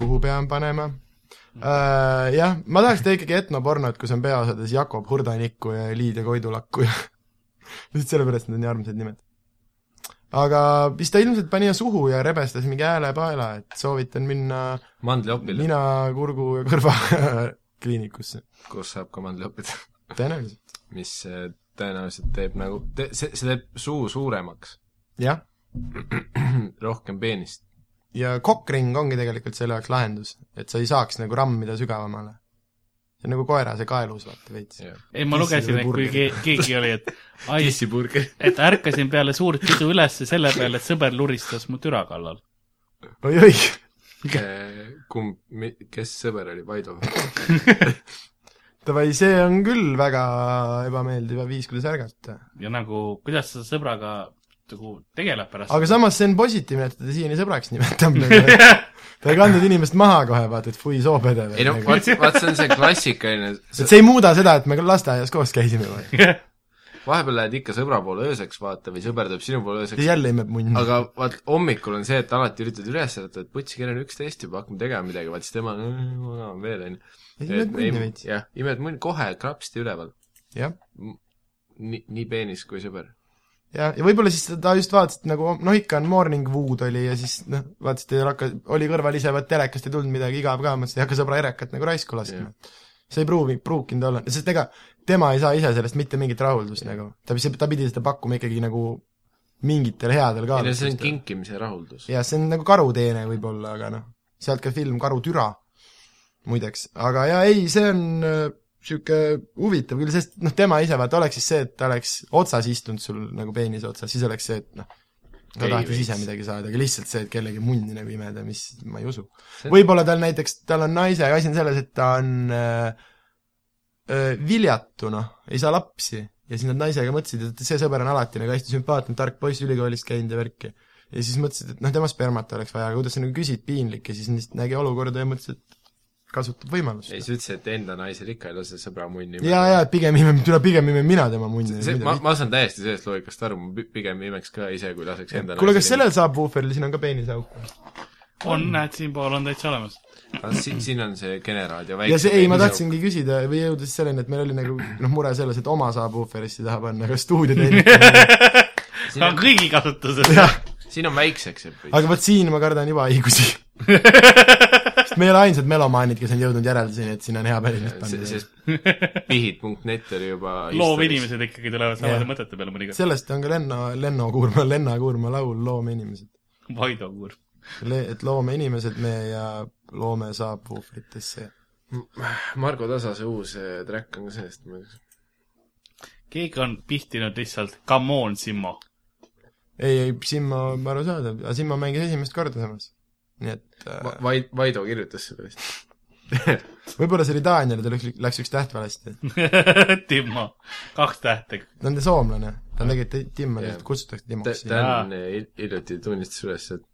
kuhu pean panema uh, ? jah , ma tahaks teha ikkagi etnopornot , kus on peaosades Jakob Hurdanikku ja Liidia Koidulakku ja lihtsalt sellepärast , et need on nii armsad nimed . aga siis ta ilmselt pani suhu ja rebestas mingi häälepaela , et soovitan minna mandliopile , nina , kurgu ja kõrva kliinikusse . kus saab ka mandliopida , tõenäoliselt , mis eh, tõenäoliselt teeb nagu , see , see teeb suu suuremaks , jah . rohkem peenist . ja kokkring ongi tegelikult selle jaoks lahendus , et sa ei saaks nagu rammida sügavamale . see on nagu koera see kaelus , vaata veits . ei , ma Tissi lugesin , või et kui burgeri? ke- keegi oli , et ai , tisseburger . et ärkasin peale suurt pidu ülesse selle peale , et sõber luristas mu türa kallal . oi-oi Eh, kumb , kes sõber oli , Vaido ? Davai , see on küll väga ebameeldiv ja viis , kuidas ärgata . ja nagu , kuidas sa sõbraga nagu tegeleb pärast aga samas see on positiivne , et teda siiani sõbraks nimetab . ta ei kandnud inimest maha kohe , vaata , et fui soopedev . ei noh , vaat , vaat see on see klassikaline , et see ei muuda seda , et me ka lasteaias koos käisime või ? vahepeal lähed ikka sõbra poole ööseks vaata või sõber tuleb sinu poole ööseks , jälle imeb munni . aga vaat hommikul on see , et alati üritad üles ärata , et putsi , kell on üksteist juba , hakkame tegema midagi , vaat siis tema , magame veel , onju . imeb munni veits . jah , imed munni kohe krapsti üleval , jah , nii , nii peenis kui sõber . ja , ja võib-olla siis ta just vaatas , et nagu noh , ikka on morning wood oli ja siis noh , vaatas , et ei hakka , oli kõrval ise , vaat telekast ei tulnud midagi , igav ka , mõtles , et ei hakka sõbra erekat nagu raisku laskma . see ei pruugi , pruukinud olla , sest ega tema ei saa ise sellest mitte mingit rahuldust nagu , ta , ta pidi seda pakkuma ikkagi nagu mingitel headel ei no see on kaalutlustel . kinkimise rahuldus . jah , see on nagu karuteene võib-olla , aga noh , sealt ka film Karutüra muideks , aga jaa , ei , see on niisugune huvitav küll , sest noh , tema ise vaata oleks siis see , et ta oleks otsas istunud sul nagu peenise otsas , siis oleks see , et noh , ta Ei tahtis veits. ise midagi saada , aga lihtsalt see , et kellegi munni nagu imeda , mis ma ei usu . See- võib-olla tal näiteks , tal on naise , asi on selles , et ta on äh, äh, viljatuna , ei saa lapsi ja siis nad naisega mõtlesid , et see sõber on alati nagu hästi sümpaatne , tark poiss ülikoolist käinud ja värki . ja siis mõtlesid , et noh , tema spermat oleks vaja , aga kuidas sa nagu küsid , piinlik , ja siis lihtsalt nägi olukorda ja mõtles , et kasutab võimalust . ei , sa ütlesid , et enda naisel ikka ei lase sõbra munni . jaa , jaa , pigem imem , tule pigem imem mina tema munni . see , ma , ma saan täiesti sellest loogikast aru , ma pi- pigem imeks ka ise , kui laseks enda kuule , kas sellel saab vuhveril , siin on ka peeniseauk . on , näed , siinpool on täitsa olemas . siin , siin on see generaadio väike ja see , ei , ma . tahtsingi küsida või jõuda siis selleni , et meil oli nagu noh , mure selles , et oma saab vuhverisse taha panna , aga stuudio teenib . ta on kõigi kasutuses . siin on väikseks jääb veits . aga vot siin ma kardan juba õigusi . sest me ei ole ainsad melomaanid , kes on jõudnud järelduseni , et siin on hea päriselt panna . sest pihid.net oli juba loovinimesed ikkagi tulevad samade Jah. mõtete peale mõnikord . sellest on ka Lenno , Lenno Kuurma , Lenna Kuurma laul Loomeinimesed . Vaido Kuur . et loomeinimesed me ja loome saab vuhvritesse . Margo Tasase uus eh, track on ka sellest , ma ei tea , keegi on pihtinud lihtsalt Come on , Simmo . ei , ei , Simmo , arusaadav , aga Simmo mängis esimest korda samas . nii et äh, Vaid- , Vaido kirjutas seda vist . võib-olla see oli Daniel , tal läks , läks üks täht valesti . Timmo , kaks tähte . ta on soomlane , ta on tegelikult Tim , aga teda kutsutakse Timoks siin . Dan eh, hiljuti tunnistas üles , et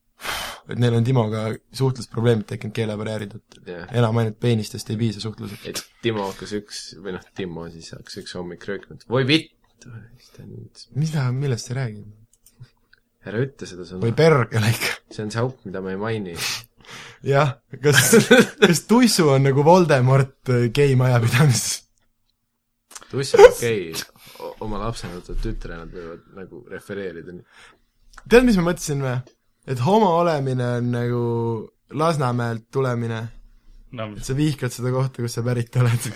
et neil on Timoga suhtlusprobleemid tekkinud keelebarjäärid , et jah , enam ainult peenistest ei piisa suhtluseks . et Timo hakkas üks , või noh , Timo siis hakkas üks hommik röökima , et voi vitt . siis Dan ütles , mida , millest sa räägid ? ära ütle seda sõna või , pergele ikka . see on see auk , mida ma ei maini . jah , kas , kas tussu on nagu Voldemort äh, gei majapidamises ? tuss on okei okay. , oma lapsendatud tütre nad võivad nagu refereerida . tead , mis ma mõtlesin või ? et homo olemine on nagu Lasnamäelt tulemine , no et sa vihkad seda kohta , kust sa pärit oled .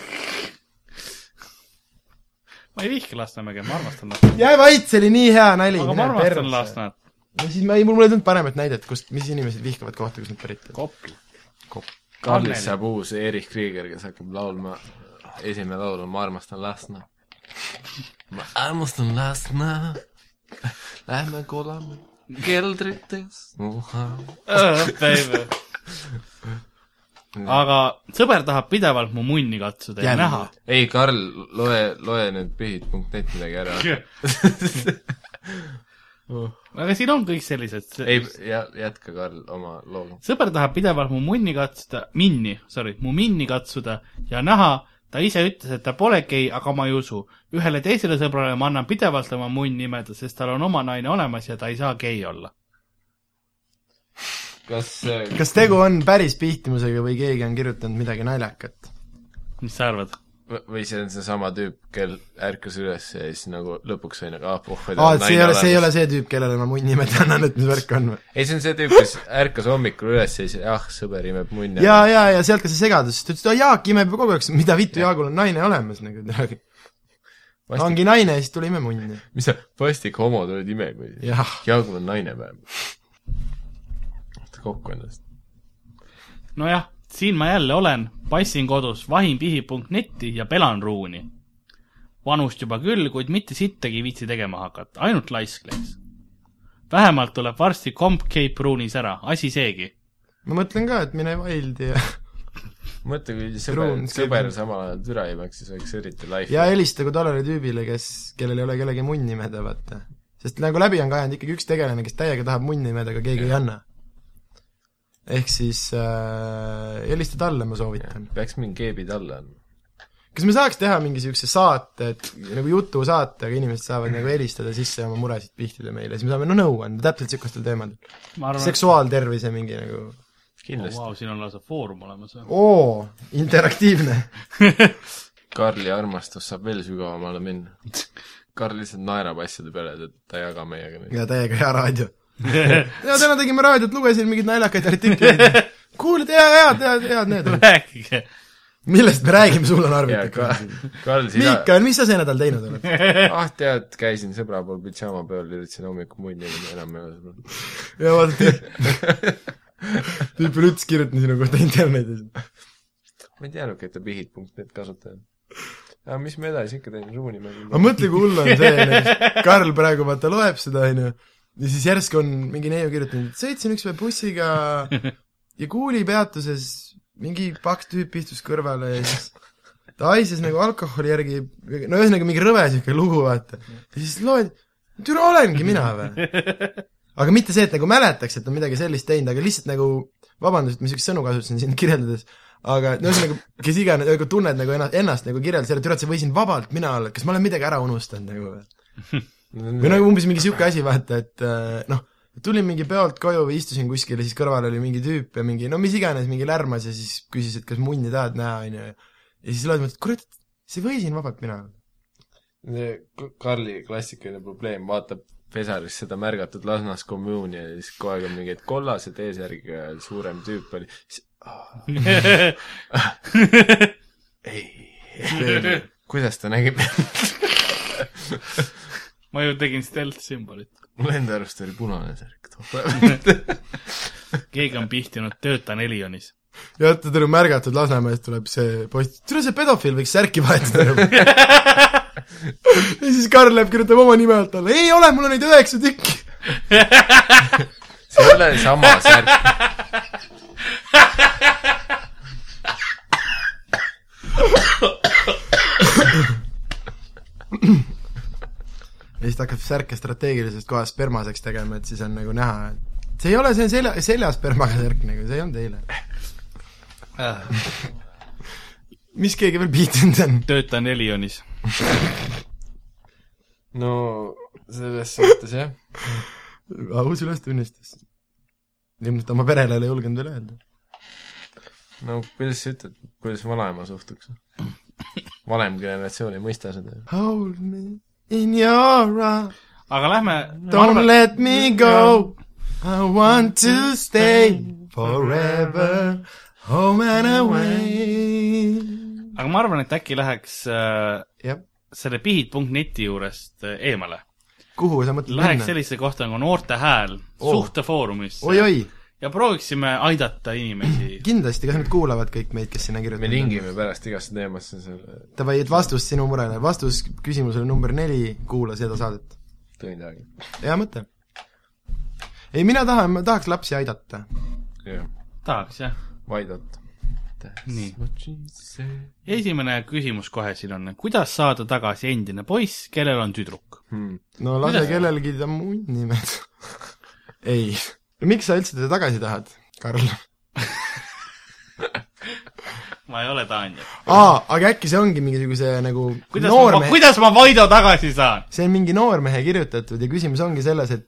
ma ei vihka Lasnamäge , ma armastan Lasnamäge . jää vait , see oli nii hea nali . aga ma armastan . Lasnamäed . no siis ma ei , mul ei tulnud paremat näidet , kust , mis inimesed vihkavad kohta , kust nad pärit on . Kopli . Karlis saab uus Erich Krieger , kes hakkab laulma , esimene laul on Ma armastan Lasna . ma armastan Lasna , lähme kolame keldrites , muha . Äh, Baby . aga sõber tahab pidevalt mu munni katsuda ja Jälle. näha . ei , Karl , loe , loe nüüd pühid.net midagi ära . aga siin on kõik sellised . ei , ja jätka , Karl , oma looga . sõber tahab pidevalt mu munni katsuda , minni , sorry , mu minni katsuda ja näha , ta ise ütles , et ta pole gei , aga ma ei usu . ühele teisele sõbrale ma annan pidevalt oma munn nimeda , sest tal on oma naine olemas ja ta ei saa gei olla . kas , äh, kas tegu on päris pihtimusega või keegi on kirjutanud midagi naljakat ? mis sa arvad ? või see on seesama tüüp , kel ärkas üles ja siis nagu lõpuks sai nagu , ah puh , aa , et see ei ole , see ei ole see tüüp , kellele ma mu nimed annan , et mis värk on või ? ei , see on see tüüp , kes ärkas hommikul üles ja siis , ah , sõber imeb munni . jaa , jaa , ja sealt ka see segadus , ta ütles , et aa , Jaak imeb ju kogu aeg , mida vittu , Jaagul on naine olemas nagu . Vastik- ongi naine , siis tule ime munni . mis see , vastik homod olid imekõigid . jah , Jaagu on naine vähemalt . võta kokku ennast . nojah , siin ma jälle olen , passin kodus , vahin pihi.neti ja pelan ruuni . vanust juba küll , kuid mitte sittagi ei viitsi tegema hakata , ainult laisk läks . vähemalt tuleb varsti komp Cape Ruunis ära , asi seegi . ma mõtlen ka , et mine vaildi ja , mõtle , kui sõber Ruun , sõber skriibib. samal ajal türa imeks , siis oleks eriti life . ja helistagu tollele tüübile , kes , kellel ei ole kellegi munni imeda , vaata . sest nagu läbi on kajanud ikkagi üks tegelane , kes täiega tahab munni imeda , aga keegi ei anna . ehk siis äh, helista talle , ma soovitan . peaks mingi keebi talle andma . kas me saaks teha mingi niisuguse saate , et nagu jutusaate , aga inimesed saavad nagu helistada sisse oma muresid pihtida meile , siis me saame noh , nõu anda täpselt niisugustel teemadel . ma arvan , et seksuaaltervise mingi nagu oh, kindlasti . wow, siin on lausa foorum olemas . oo , interaktiivne . Karli armastus saab veel sügavamale minna . Karl lihtsalt naerab asjade peale , et ta ei jaga meiega neid . ja täiega hea raadio . ja täna tegime raadiot , lugesin mingeid naljakaid artikleid . kuule , hea , head , head , head need olid . rääkige . millest me räägime , sul on ja arvuti . Karl , Karl siis Miikael , mis sa see nädal teinud oled ? ah tead , käisin sõbra pool pidžaamapeol , üritasin hommikul munni , enam ei ole sõbra . ja vaata tüüp , tüüp Rüts kirjutas sinu kohta internetis . ma ei teadnudki , et ta pihid.net kasutab . aga mis me edasi ikka teeme , ruuni aga mängime . mõtle , kui hull on see , Karl praegu vaata loeb seda , onju , ja siis järsku on mingi neiu kirjutanud , et sõitsin ükspäev bussiga ja kuulipeatuses mingi paks tüüp istus kõrvale ja siis ta haises nagu alkoholi järgi , no ühesõnaga mingi rõve siuke lugu , vaata . ja siis loed , türa olengi mina või ? aga mitte see , et nagu mäletaks , et on midagi sellist teinud , aga lihtsalt nagu , vabandust , ma siukest sõnu kasutasin sind kirjeldades , aga no ühesõnaga , kes iganes , nagu tunned nagu ennast , ennast nagu kirjeldas jälle , et ürat , sa võisid vabalt mina olla , kas ma olen midagi ära unustanud nagu või ? või no umbes mingi niisugune asi , vaata , et äh, noh , tulin mingi peolt koju või istusin kuskil ja siis kõrval oli mingi tüüp ja mingi no mis iganes , mingi lärmas ja siis küsis , et kas munni tahad näha , on ju . ja siis loed , et kurat , sa võisid vabalt mina olla . Karli klassikaline probleem , vaatab Pesaris seda märgatud Lasnas kommuuni ja siis kogu aeg on mingi , et kollase T-särgiga suurem tüüp oli , siis oh, ei , kuidas ta nägi ma ju tegin stealth sümbolit . mul enda arust oli punane särk too päev . keegi on pihtinud , töötan Elionis . ja vaata , tule märgatud Lasnamäest tuleb see post , tule see pedofiil võiks särki vahetada nagu . ja siis Karl läheb , kirjutab oma nime alt alla , ei ole , mul on neid üheksa tükki . see ei ole sama särk . ja siis ta hakkab särke strateegilisest kohast spermaseks tegema , et siis on nagu näha , et see ei ole , see on selja , seljas spermaga särk nagu , see ei olnud eile . mis keegi veel piitinud on ? töötan Elionis . no selles suhtes jah . aus ülestunnistus . ilmselt oma perele ei ole julgenud veel öelda . no kuidas sa ütled , kuidas vanaema suhtuks ? vanem generatsioon ei mõista seda . Hold me in your arms aga lähme . Don't let me go. I want to stay forever home and away. aga ma arvan , et äkki läheks äh, jah , selle pihid.neti juurest äh, eemale . kuhu sa mõtled Läheks minna ? sellisesse kohta nagu Noorte Hääl Oo. oh. suhtefoorumisse oi-oi , ja prooviksime aidata inimesi . kindlasti , kas nad kuulavad kõik meid , kes sinna me kirjutavad ? lingime pärast igasse teemasse selle , Davai , et vastus sinu murele , vastus küsimusele number neli , kuula seda saadet . tõin midagi . hea mõte . ei , mina tahan , ma tahaks lapsi aidata . jah , tahaks jah ? vaidata . Nii. what she said esimene küsimus kohe siin on , kuidas saada tagasi endine poiss , kellel on tüdruk ? hmm. . no lase Mida? kellelgi ta muud nimed . ei . miks sa üldse teda tagasi tahad , Karl ? ma ei ole Taanja . aa , aga äkki see ongi mingisuguse nagu kuidas Noorme. ma , noormehe , kuidas ma Vaido tagasi saan ? see on mingi noormehe kirjutatud ja küsimus ongi selles , et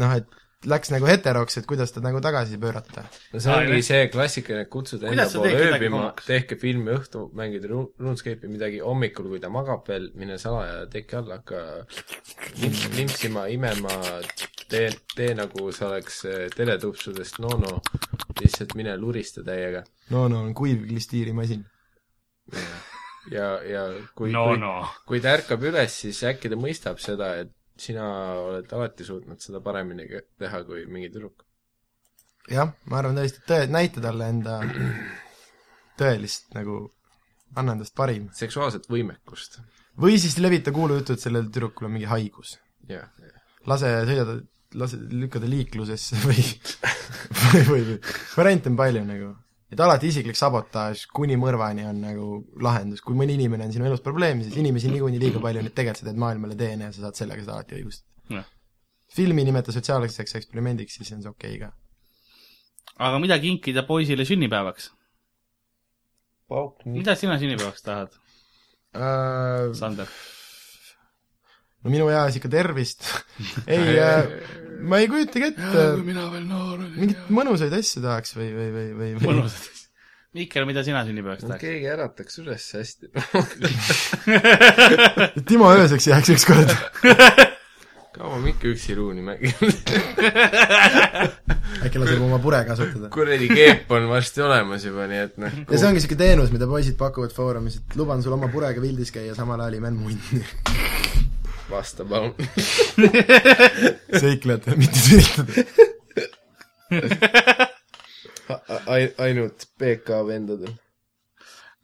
noh , et läks nagu heteroks , et kuidas ta nagu tagasi pöörata . no see Aa, ongi jah. see klassikaline , et kutsuda enda Kuidas sa poole teed kedagi ööbima , homaks? tehke filmi õhtu , mängida ru- , RuneScape'i midagi , hommikul , kui ta magab veel , mine salaja teki alla , hakka lim- limpsima , imema , tee , tee nagu sa oleks äh, teletupsudest Nono , lihtsalt mine lurista täiega . no no on kuiv klistiirimasin . ja , ja kui no , kui, no . kui ta ärkab üles , siis äkki ta mõistab seda , et sina oled alati suutnud seda paremini kõ- teha kui mingi tüdruk . jah , ma arvan tõesti , tõe , näita talle enda tõelist nagu , anna endast parim . seksuaalset võimekust . või siis levita kuulujutu , et sellel tüdrukul on mingi haigus . jah , lase sõidada , lase , lükka ta liiklusesse või , või , või , variante on palju nagu . et alati isiklik sabotaaž kuni mõrvani on nagu lahendus , kui mõni inimene on sinu elus probleem , siis inimesi on niikuinii liiga palju , nii et tegelikult sa teed maailmale teene ja sa saad sellega seda alati õigust . Noh. filmi nimeta sotsiaalseks eksperimendiks , siis on see okei okay ka . aga mida kinkida poisile sünnipäevaks ? pauk nii . mida sina sünnipäevaks tahad , Sander ? no minu eas ikka tervist . ei äh, , ma ei kujutagi ette , äh, mina veel noor olin . mingeid mõnusaid asju tahaks või , või , või , või , või mõnusad asjad . Mihkel , mida sina sünnipäevaks no tahaksid keegi ärataks üles hästi . Timo ööseks jääks ükskord kaua Mikk üksi ruuni mängib ? äkki laseb oma pure kasutada . kuradi keep on varsti olemas juba , nii et noh . ja see ongi niisugune teenus , mida poisid pakuvad Foorumis , et luban sul oma purega pildis käia , samal ajal imen munni . vasta palun . seiklejatele , mitte süüdida . ainult PK vendadel .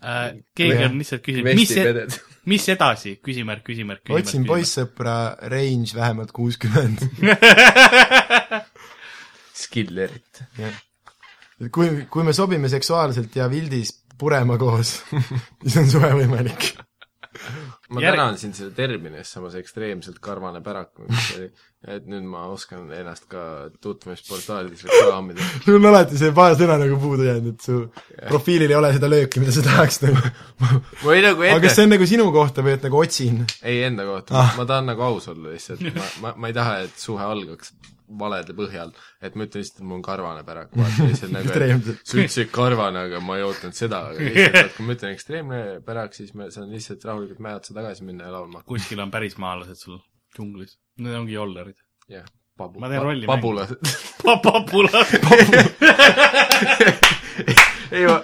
äh, ? keegi Jah. on lihtsalt küsinud , mis , vestipeded . mis edasi , küsimärk , küsimärk , küsimärk . otsin . poissõpra range vähemalt kuuskümmend . Skillerit . kui , kui me sobime seksuaalselt ja Vildis purema koos , siis on suhe võimalik . ma Järg- Järg... tänan sind selle termini eest , samas ekstreemselt karvane pärak , et nüüd ma oskan ennast ka tutvumisportaalides reklaamida . sul on alati see paar sõna nagu puudu jäänud , et su profiilil ei ole seda lööki , mida sa tahaks nagu . või nagu aga kas ette see , on nagu sinu kohta või et nagu otsin ? ei enda kohta Ah. ah. , ma tahan nagu aus olla lihtsalt , ma , ma , ma ei taha , et suhe algaks valede põhjal , et ma ütlen lihtsalt , et mul on karvane pärak , vaata lihtsalt nagu Ekstreemselt. , sa ütlesid karvane , aga ma ei ootanud seda , aga lihtsalt , et kui ma ütlen ekstreemne pärak , siis ma saan lihtsalt rahulikult mäe otsa tagasi minna ja laulma , kuskil on pärismaalased sul džunglis . Need ongi jollerid . jah , pabu- Ma teen rolli pabulased . papulased . ei ma ,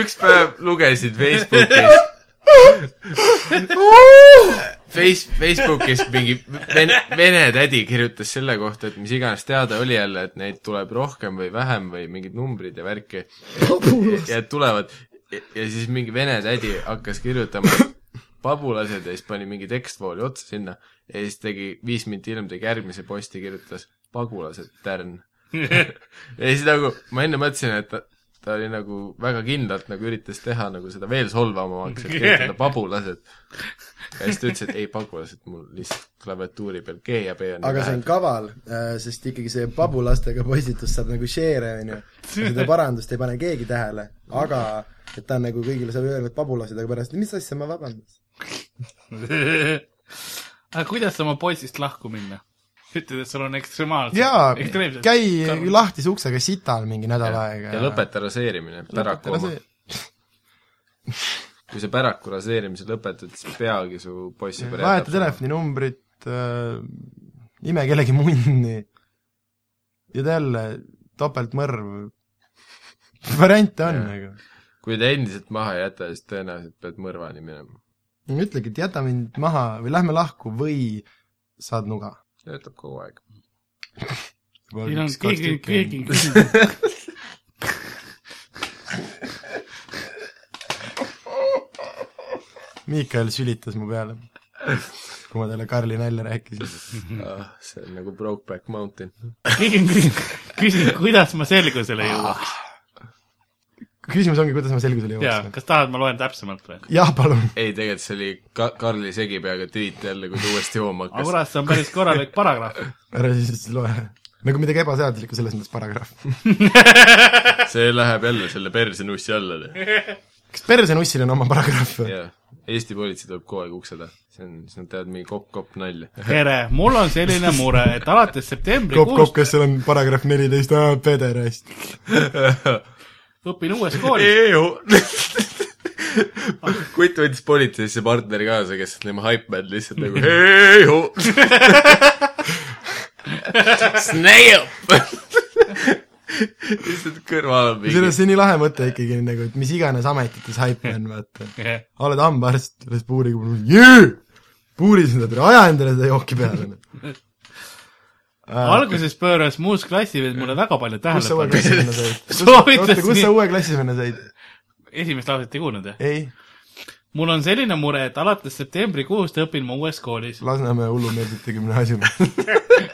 üks päev lugesin Facebookis Face , Facebookis mingi vene , vene tädi kirjutas selle kohta , et mis iganes teada oli jälle , et neid tuleb rohkem või vähem või mingid numbrid ja värki . ja et tulevad ja ja siis mingi vene tädi hakkas kirjutama et pabulased ja siis pani mingi tekstvooli otsa sinna ja siis tegi , viis minutit hiljem tegi järgmise posti , kirjutas pagulased tärn . ja siis nagu ma enne mõtlesin , et ta, ta oli nagu väga kindlalt nagu üritas teha nagu seda veel solvavamaks , et kirjutada pabulased . ja siis ta ütles , et ei pagulased , mul lihtsalt klaviatuuri peal G ja B on aga see on kaval , sest ikkagi see pabulastega postitus saab nagu share'e , onju . seda parandust ei pane keegi tähele , aga et ta on nagu kõigile saab öelnud pabulased , aga pärast , mis asja ma vabandan . aga kuidas oma poisist lahku minna ? ütled , et sul on ekstremaalselt . jaa , ekstreemselt . käi . lahtise uksega sital mingi nädal aega ja lõpeta raseerimine , päraku oma . kui sa päraku raseerimise lõpetad , siis peagi su poissi vaheta . telefoninumbrit äh, , ime kellegi munni ja jälle topeltmõrv . variante on Jaa. nagu . kui ta endiselt maha ei jäta , siis tõenäoliselt pead mõrvani minema . ütlegi , et jäta mind maha või lähme lahku või saad nuga . töötab kogu aeg . siin on keegi , keegi on küsinud . Miikael sülitas mu peale , kui ma talle Karli nalja rääkisin . Ah, see on nagu Brokeback Mountain . keegi on küsinud , küsinud , kuidas ma selgusele jõuaks . küsimus ongi , kuidas ma selgusele jaa , jõuaks . kas tahad , ma loen täpsemalt või ? jah , palun . ei , tegelikult see oli ka Karli segipeaga tweet jälle , kui ta uuesti jooma aga hakkas . kurat , see on päris korralik paragrahv . ära siis loe . nagu midagi ebaseaduslikku selles mõttes paragrahv . see läheb jälle selle persenussi alla . kas persenussil on oma paragrahv või ? jaa , Eesti politsei tuleb kogu aeg ukse taha . see on , siis nad teevad mingi kopp-kopp nalja . tere , mul on selline mure , et alates kopp , kopp , septembrikuust kas seal on paragrahv neliteist , pederast . õpin uues koolis . kutt võttis politseisse partneri kaasa , kes on tema hype man lihtsalt nagu heihu . Snail . lihtsalt kõrval on mingi selles , see nii lahe mõte ikkagi nagu , et mis iganes ametites haip on , vaata . oled hambaarst , oled puuriga , puurid seda peale , aja endale seda jooki peale . noh." alguses pööras muus klassivend mulle väga palju Äh, kus sa uue tähelepanu . klassi venna said ? oota , kus sa soovitas , uue klassi venna said ? esimest lauset ei kuulnud jah ? ei , mul on selline mure , et alates septembrikuust õpin ma uues koolis . Lasnamäe hullumeelsete gümnaasiumis .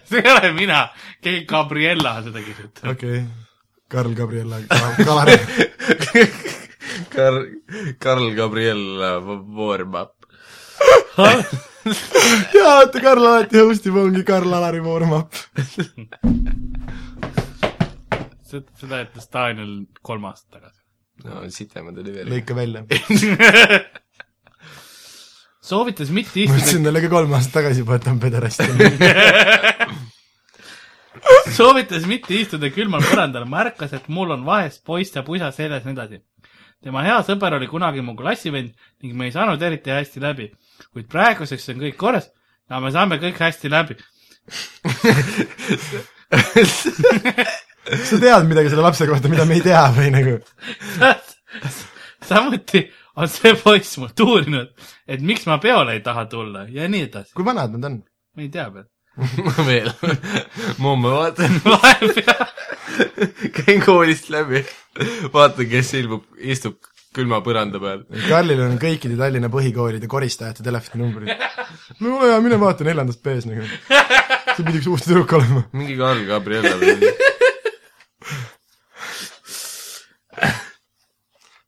see ei ole mina , keegi Gabriella seda kirjutab . okei okay. , Karl Gabriela Kalari . Karl , Karl Gabriel äh, Vormap . jaa , vaata Karl alati host ib , ongi Karl Alari warm-up . seda ütles Daniel kolm aastat tagasi . no sitemad oli veel . lõika välja . soovitas mitte ma istuda , ütlesin talle ka kolm aastat tagasi juba , et ta on pederast . soovitas mitte istuda külmal põrandal , märkas , et mul on vahest poiss ja pusa seljas ja nii edasi . tema hea sõber oli kunagi mu klassivend ning me ei saanud eriti hästi läbi , kuid praeguseks on kõik korras ja me saame kõik hästi läbi . sa tead midagi selle lapse kohta , mida me ei tea või nagu ? samuti on see poiss mult uurinud , et miks ma peole ei taha tulla ja nii edasi . kui vanad nad on ? ma ei tea veel . ma veel , mumme vaatan , vahepeal käin koolist läbi , vaatan , kes ilmub , istub külma põranda peal . Karlil on kõikide Tallinna põhikoolide koristajate telefoninumbrid . no ole hea , mine vaata neljandas B-s nagu . see pidi üks uus tüdruk olema . mingi Karl Gabriella või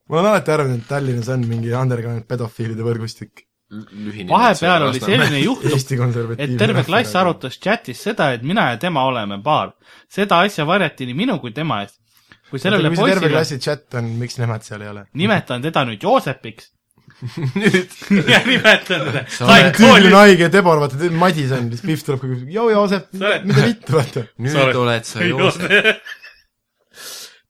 ma olen alati arvanud , et Tallinnas on mingi underground pedofiilide võrgustik . lühinimetusega . vahepeal oli selline juhtum , Eesti konservatiivne et terve klass arutas chatis seda , et mina ja tema oleme paar . seda asja varjati nii minu kui tema eest . kui sellele mis terve poisile , klassi chat on , miks nemad seal ei ole ? nimetan teda nüüd Joosepiks ja nimetan teda , sain oled küüniline kooli , haige Debor , vaata , Madis on , siis Pihv tuleb kogu aeg , joo , Joosep , oled- mida vittu , vaata . nüüd Sa oled- oled, oled sa Joosep .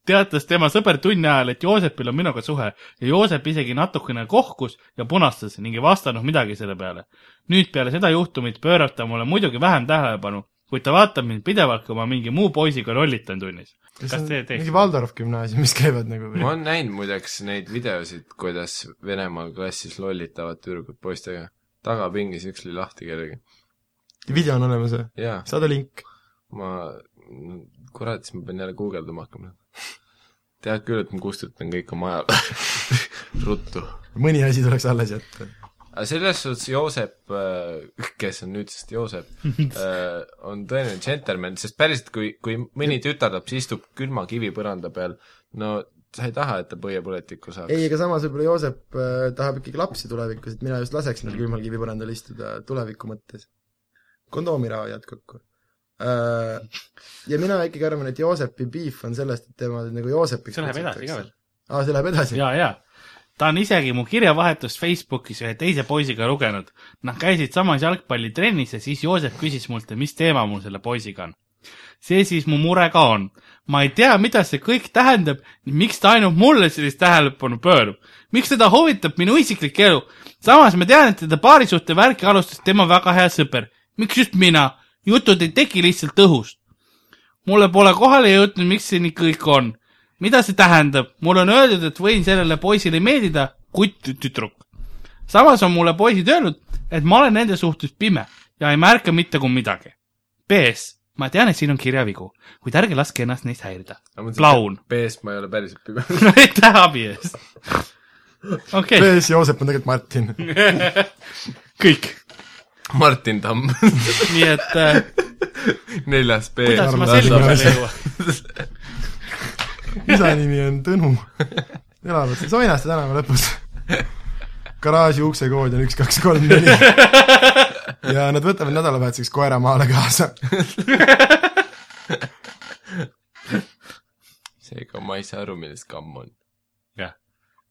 teatas tema sõber tunni ajal , et Joosepil on minuga suhe ja Joosep isegi natukene kohkus ja punastas ning ei vastanud midagi selle peale . nüüd peale seda juhtumit pöörab ta mulle muidugi vähem tähelepanu , kuid ta vaatab mind pidevalt , kui ma mingi muu poisiga lollitan tunnis . kas te teeks ? mingi Valdorf gümnaasiumis käivad nagu ma . olen näinud muideks neid videosid , kuidas Venemaa klassis lollitavad tüdrukud poistega . tagapingis üks oli lahti kellegi . video on olemas või ? jaa , saada link . ma , kurat , siis ma pean jälle guugeldama hakkama . tead küll , et ma kustutan kõik oma ajal . ruttu . mõni asi tuleks alles jätta . aga selles suhtes Joosep , kes on nüüdsest Joosep , on tõeline džentelmen , sest päriselt , kui , kui mõni tütarlaps istub külma kivi põranda peal , no sa ei taha , et ta põiepõletikku saaks . ei , aga samas võib-olla Joosep äh, tahab ikkagi lapsi tulevikus , et mina just laseks neil külmal kivipõrandal istuda tuleviku mõttes . kondoomiraha jääd kokku äh, . ja mina ikkagi arvan , et Joosepi beef on sellest , et tema nagu Joosepiks see läheb edasi ka veel . aa , see läheb edasi ? ja , ja ta on isegi mu kirjavahetust Facebookis ühe teise poisiga lugenud . Nad käisid samas jalgpallitrennis ja siis Joosep küsis mult , et mis teema mul selle poisiga on . see siis mu mure ka on . ma ei tea , mida see kõik tähendab , miks ta ainult mulle sellist tähelepanu pöörab . miks teda huvitab minu isiklik elu ? samas ma tean , et teda paarisuhte värki alustas tema väga hea sõber . miks just mina ? jutud ei teki lihtsalt õhust . mulle pole kohale jõudnud , miks see nii kõik on . mida see tähendab ? mulle on öeldud , et võin sellele poisile meeldida , kuid tü- tüdruk . samas on mulle poisid öelnud , et ma olen nende suhtes pime ja ei märka mitte kui midagi . PS , ma tean , et siin on kirjavigu , kuid ärge laske ennast neist häirida . Plaun . B-s ma ei ole päriselt pime . aitäh abi eest . okei okay, , mees Joosep on tegelikult Martin . kõik . Martin Tamm , nii et äh, neljas B . kuidas ma Armas selgusele mees. jõuan ? isa nimi on Tõnu . elavad siin Soinaste tänava lõpus . garaaži uksekood on üks , kaks , kolm , neli . ja nad võtavad nädalavahetuseks koera maale kaasa . seega ma ei saa aru , millest kamm on .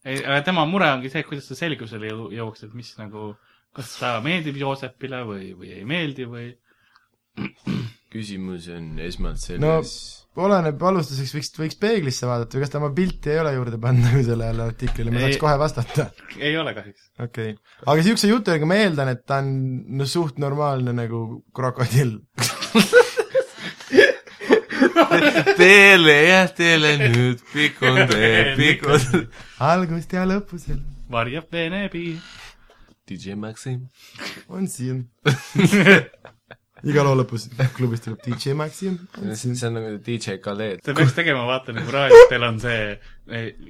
ei , aga tema mure ongi see , kuidas sa selgusele jõu- jõuaks , et mis nagu , kas ta meeldib Joosepile või , või ei meeldi või küsimus on esmalt selles oleneb , alustuseks võiks , võiks peeglisse vaadata või kas ta oma pilti ei ole juurde pannud nagu sellele artiklile , ma Ei. saaks kohe vastata . ei ole kahjuks . okei okay. , aga niisuguse jutu järgi ma eeldan , et ta on no suht normaalne nagu krokodill . no. . Teele jah , teele nüüd pikk on tee , pikk on . algust ja lõpusel varjab Vene piir . DJ Maxim . on siin . iga loo lõpus klubis tuleb DJ Maxim , on siin . see on nagu DJ Khaled . sa peaks tegema , vaata nagu raadiotel on see ,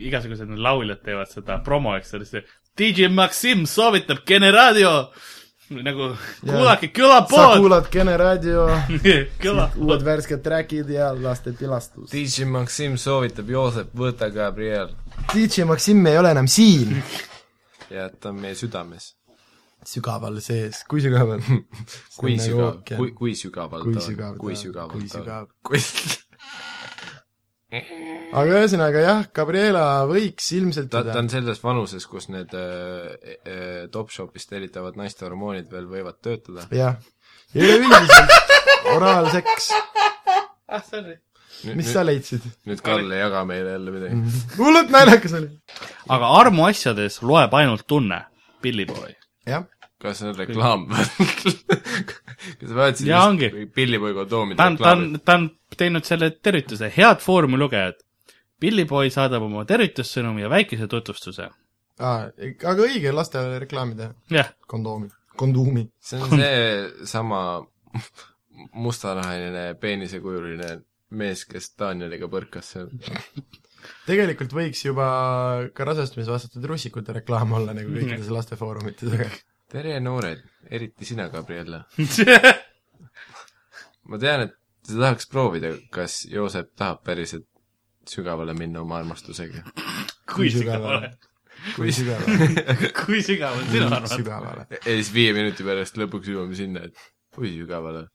igasugused need lauljad teevad seda promo , eks ole , see DJ Maxim soovitab Kene raadio nagu kuulake sa külapood , kuulad Kene raadio , uued külapood . värsked trackid ja laste pilastus . DJ Maxim soovitab Joosep , võta Gabriel DJ Maxim ei ole enam siin ja ta on meie südames . sügaval sees , kui sügaval ? nagu kui sügav , kui , kui sügaval Kui ta on sügav , kui ta on, sügaval kui ta on sügav. . kui aga ühesõnaga jah , Gabriela võiks ilmselt ta , ta teda on , selles vanuses , kus need äh, äh, Topshopist tellitavad naiste hormoonid veel võivad töötada . jah . ja üleüldiselt oraalseks , ah , sorry . mis sa leidsid ? nüüd Karl ei jaga meile jälle midagi mm . hullult naljakas oli . aga armuasjades loeb ainult tunne , Pillipoi . jah , -hmm. kas see on reklaam või ? kas sa vaatasid Jaa, ongi. Pillipoi kondoomide ta on , ta on reklaami ?, ta on teinud selle tervituse , head Foorumi lugejad . Pillipoi saadab oma tervitussõnumi ja väikese tutvustuse . aga õige lastele reklaami teha , jah , kondoomi , kondoomi . see on see sama mustanahaline peenisekujuline mees , kes Danieliga põrkas seal . tegelikult võiks juba ka rasestumisvastaste trussikute reklaam olla nagu kõikides lastefoorumites , aga tere , noored , eriti sina , Gabriella . ma tean , et sa tahaks proovida , kas Joosep tahab päriselt sügavale minna oma armastusega . kui sügavale? sügavale . kui sügavale , kui sügaval sina arvad ? sügavale . ja siis viie minuti pärast lõpuks jõuame sinna , et oi sügavale .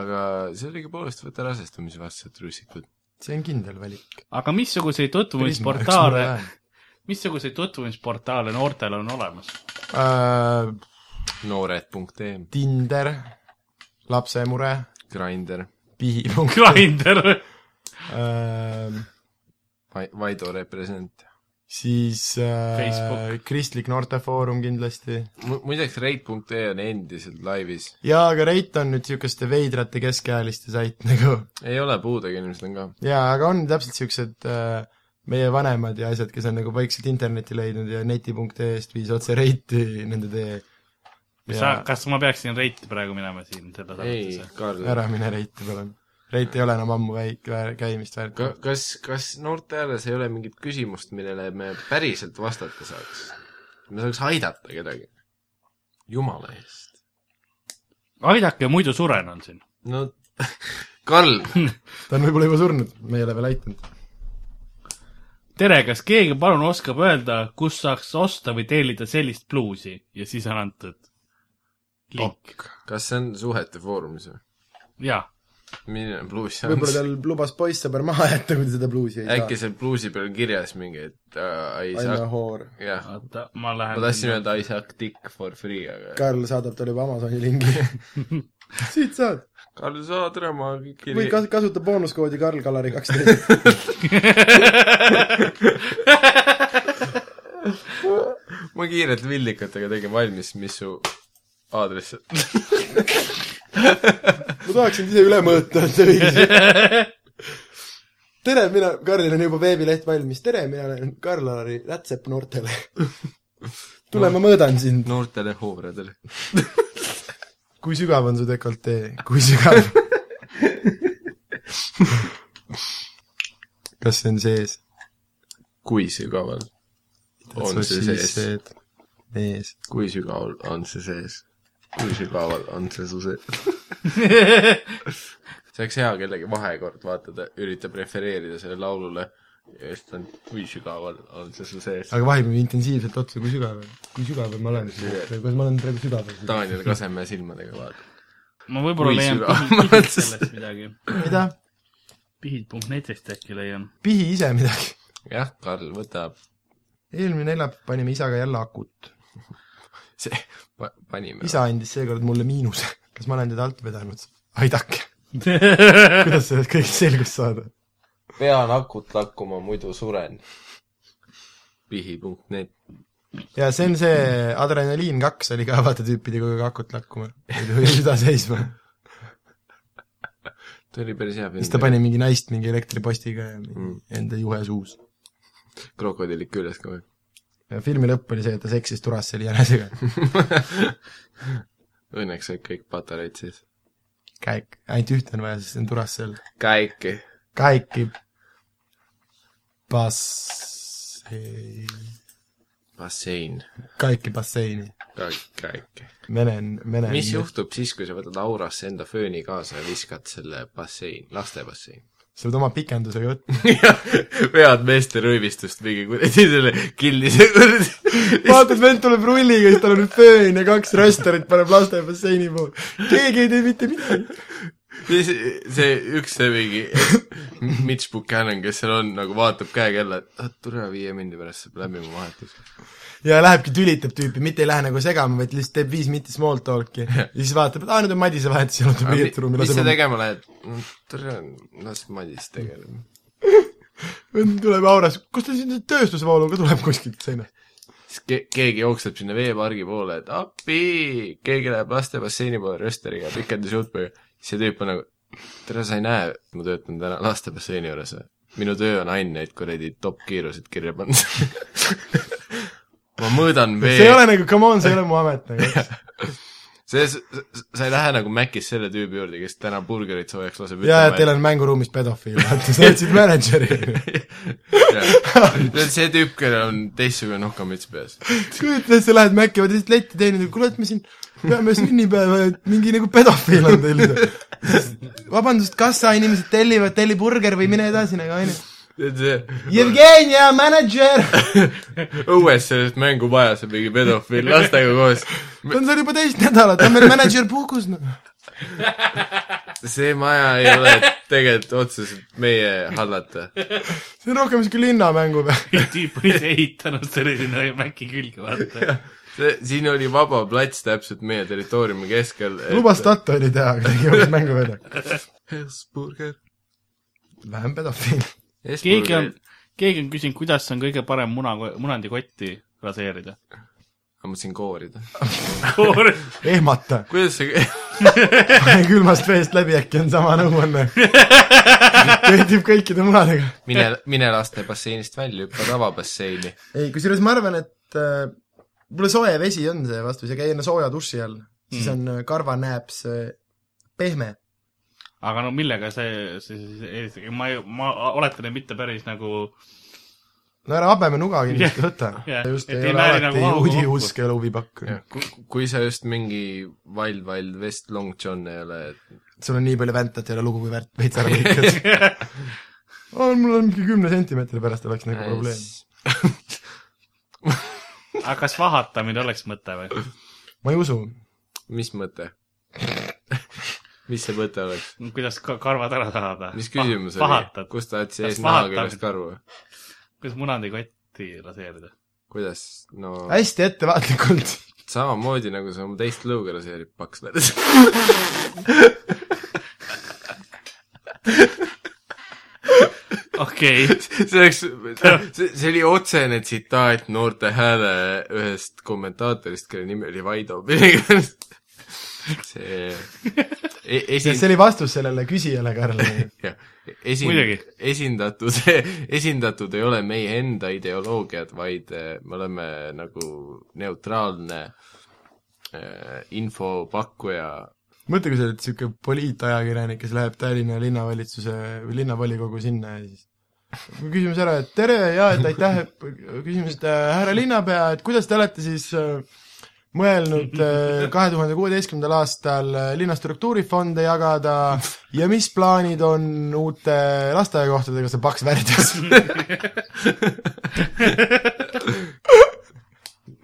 aga sellegipoolest võta rasestumisvastased trussikud . see on kindel valik . aga missuguseid tutvumisportaale , missuguseid tutvumisportaale noortel on olemas ? äh, noored.ee , Tinder , lapsemure , Grindr , pihi . Grindr , äh, Vaido represent . siis äh, Facebook. kristlik noortefoorum kindlasti muideks Reit.ee on endiselt laivis . jaa , aga Reit on nüüd niisuguste veidrate keskealiste sait nagu ei ole , puudega inimesed on ka . jaa , aga on täpselt niisugused äh, meie vanemad ja asjad , kes on nagu vaikselt internetti leidnud ja neti.ee-st viis otse Reiti nende tee . sa , kas ma peaksin reiti praegu minema siin seda ei saatesse ?, Karl . ära mine Reiti , palun . Reit ei ole enam ammu väik- , käimist väärt . ka- , kas , kas noorte hääles ei ole mingit küsimust , millele me päriselt vastata saaks ? me saaks aidata kedagi . jumala eest . aidake , muidu suren on siin . no Karl , ta on võib-olla juba surnud , me ei ole veel aitanud . tere , kas keegi palun oskab öelda , kus saaks osta või tellida sellist bluusi ja siis on antud link . kas see on suhete foorumis või ? jaa , milline bluus see võib-olla on ? tal lubas poissõber maha jätta , kui ta seda bluusi ei äkki saa . seal bluusi peal on kirjas mingi , et uh, I I m a suck , whore . jah . oota , ma lähen . ma tahtsin . öelda I suck dick for free , aga Karl saadab talle juba Amazoni lingi . siit saad . Karl , saad ära , ma või kiri- kas- , kasuta boonuskoodi Karl Kalari kaksteist . ma kiirelt villikatega tegin valmis , mis su aadress on . ma tahaksin ise üle mõõta , et see õige . tere , mina , Karlil on juba veebileht valmis . tere , mina olen Karl Kalari rätsep noortele . tule , ma mõõdan sind . noortele hoovradele . kui sügav on su dekoltee , kui sügav ? kas see on sees ? kui sügaval on see eh, sees ? ees . kui sügaval on see sees ? kui sügaval on see su sees ? see oleks hea kellegi vahekord vaatada , üritab refereerida sellele laulule ja siis ta on , kui sügaval on see su sees . aga vahime intensiivselt otsa , kui sügav , kui sügaval ma olen , kas ma olen praegu sügaval ? Daniel Kasemäe silmadega vaata . ma võib-olla Kui leian sügav- pihid- pihid sellest midagi . mida ? pihid.netist äkki leian . pihi ise midagi . jah , Karl , võta , eelmine neljapäev panime isaga jälle akut . see , panime . isa andis seekord mulle miinuse . kas ma olen teda alt vedanud ? aidake . kuidas sellest kõigest selgust saada ? pean akut lakkuma , muidu suren . pihi.net ja see on see Adrenaliin kaks oli ka vaata tüüpidega kogu aeg akut lakkuma . ei tohi süda seisma . ta oli päris hea film . siis ta pani mingi naist mingi elektripostiga ja mingi Mm. enda juhe suus . krokodillid küljes ka või ? ja filmi lõpp oli see , et ta seksis Turasseli jänesega . Õnneks said kõik patareid siis . käik , ainult ühte on vaja , sest see on Turassel . käiki . Kaikki bassein , bassein . Kaikki basseini , ka käiki . Vene , Vene mis ? juhtub siis , kui sa võtad aurasse enda fööni kaasa ja viskad selle bassein , laste bassein ? sa pead oma pikenduse juttu , vead meeste rõivistust mingi kuradi selle killise kuradi . vaatad , vend tuleb rulliga , siis tal on föön ja kaks rösterit paneb laste basseini poole . keegi ei tee mitte midagi . siis see üks see mingi Mitch Buchanan , kes seal on , nagu vaatab käekella , et ah, tule viie mindi pärast saab läbi mu vahetus . ja lähebki , tülitab tüüpi , mitte ei lähe nagu segama , vaid lihtsalt teeb viis minutit small talk'i ja siis vaatab , et aa , nüüd on Madise vahetus , jalutab riietusruumi , mis sa laseb , tegema lähed ? tule , las Madis tegeleb . vend tuleb auras , kus ta siin see tööstusvoolu ka tuleb kuskilt seinast . siis ke- , keegi jookseb sinna veepargi poole , et appi , keegi läheb laste basseini poole rösteriga , pikendusjuhtmega , siis see tüüp on nagu , tere , sa ei näe , et ma töötan täna laste basseini juures või ? minu töö on ainult neid kuradi top-kiiruseid kirja panna . ma mõõdan see ei vee , ole nagu , come on , see ei ole mu amet nagu . see , sa ei lähe nagu Macis selle tüübi juurde , kes täna burgerit soojaks laseb jaa , et teil on mänguruumis pedofiil , vaata , sa otsid mänedžeri . on see tüüp , kellel on teistsugune nokamüts peas . kujuta ette , sa lähed Maci , oled lihtsalt letti teinud ja kuule , et me siin peame sünnipäeva , et mingi nagu pedofiil on teil . vabandust , kas sa inimesed tellivad , telli burger või mine edasi nagu onju . see on see Jevgenia mänedžer , õues sellest mängumajas on mingi pedofiil lastega koos . ta on seal juba teist nädalat , ta on meil mänedžer puhkus , noh . see maja ei ole tegelikult otseselt meie hallata . see on rohkem siuke linnamängu peal . tüüp on ise ehitanud selle sinna Maci külge , vaata . see , siin oli vaba plats täpselt meie territooriumi keskel . lubas . Statoili teha , aga tegi hoopis mänguväljak . Hesburger . vähem pedofiil . keegi on , keegi on küsinud , kuidas on kõige parem muna , munandikotti raseerida . ma mõtlesin koorida . ehmata , kuidas see , külmast veest läbi äkki on sama nõuanne . kehtib kõikide munadega . mine , mine laste basseinist välja , hüppa tavabasseini . ei , kusjuures ma arvan , et äh, võib-olla soe vesi on see vastus ja käi enne sooja duši all , siis mm. on äh, karvanääps äh, pehme . aga no millega see , see , see , see , ma , ma oletan , et mitte päris nagu no ära habeme nuga kindlasti võta Jah. yeah. . just Et ei, ei ei ole määri alati nagu augu nagu kokku. udiusk ja luupipakk . kui sa just mingi Wild Wild West Long John ei ole , et sul on nii palju väntat , ei ole lugu kui värt , veits ära lõikad . mul on mingi kümne sentimeetri pärast oleks nagu probleem . aga kas vahatamine oleks mõte või ? ma ei usu . mis mõte ? mis see mõte oleks ? kuidas ka karvad ära saada ? mis küsimus oli vahatad ,? kus ta jättis Kas ees naha vahatad? küljest karvu ? kuidas munandikotti raseerida ? kuidas ? no hästi ettevaatlikult . samamoodi nagu sa oma teist lõuga laseerid paks veres . okei okay. , see oleks , see , see oli otsene tsitaat noorte hääle ühest kommentaatorist , kelle nimi oli Vaido . see e, see see esin- , oli vastus sellele küsijale , Karl . jah , esin- Muidugi. , esindatud , esindatud ei ole meie enda ideoloogiad , vaid eh, me oleme nagu neutraalne eh, infopakkuja mõtle , kui sa oled siuke poliitajakirjanik , kes läheb Tallinna linnavalitsuse või linnavolikogu sinna ja siis küsimus ära , et tere ja et aitäh , küsimus , et äh, härra linnapea , et kuidas te olete siis äh, mõelnud kahe tuhande kuueteistkümnendal aastal äh, linna struktuurifonde jagada ja mis plaanid on uute lasteaiakohtadega , see paks värdjas .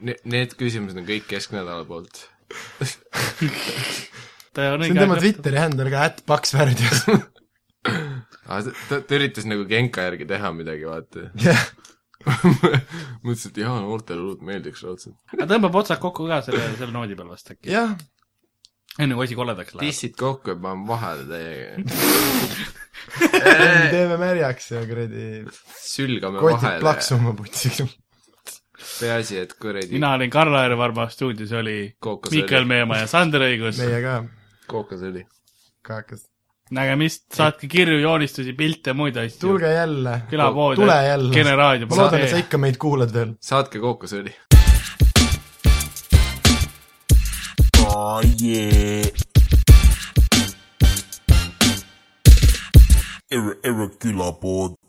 Ne- Need küsimused on kõik kesknädala poolt . see see on tema . Twitteri händel ka , ätt paks värdjas . ta, ta, ta üritas nagu Genka järgi teha midagi , vaata . jah , mõtlesin , et jaa , noortele hullult meeldiks raudselt . aga tõmbab otsad kokku ka selle , selle noodi peal vast äkki , jah , enne kui asi kolledaks läheb . tissid kokku ja panen vahele täiega . teeme märjaks ja kuradi sülgame kotid vahele . plaksuma putsiks . peaasi , et kuradi mina olin Karl Aer Varma , stuudios oli Miikael kookosõli , Meemaa ja Sander Õigus . meie ka , kookosõli . kaekas nägemist , saatke kirju , joonistusi , pilte , muid asju . tulge jälle , Külapoodi. tule jälle . Kene raadio. ma loodan , et sa ikka meid kuulad veel . saatke kookosõli . Oh yeah. Ir- irregular board.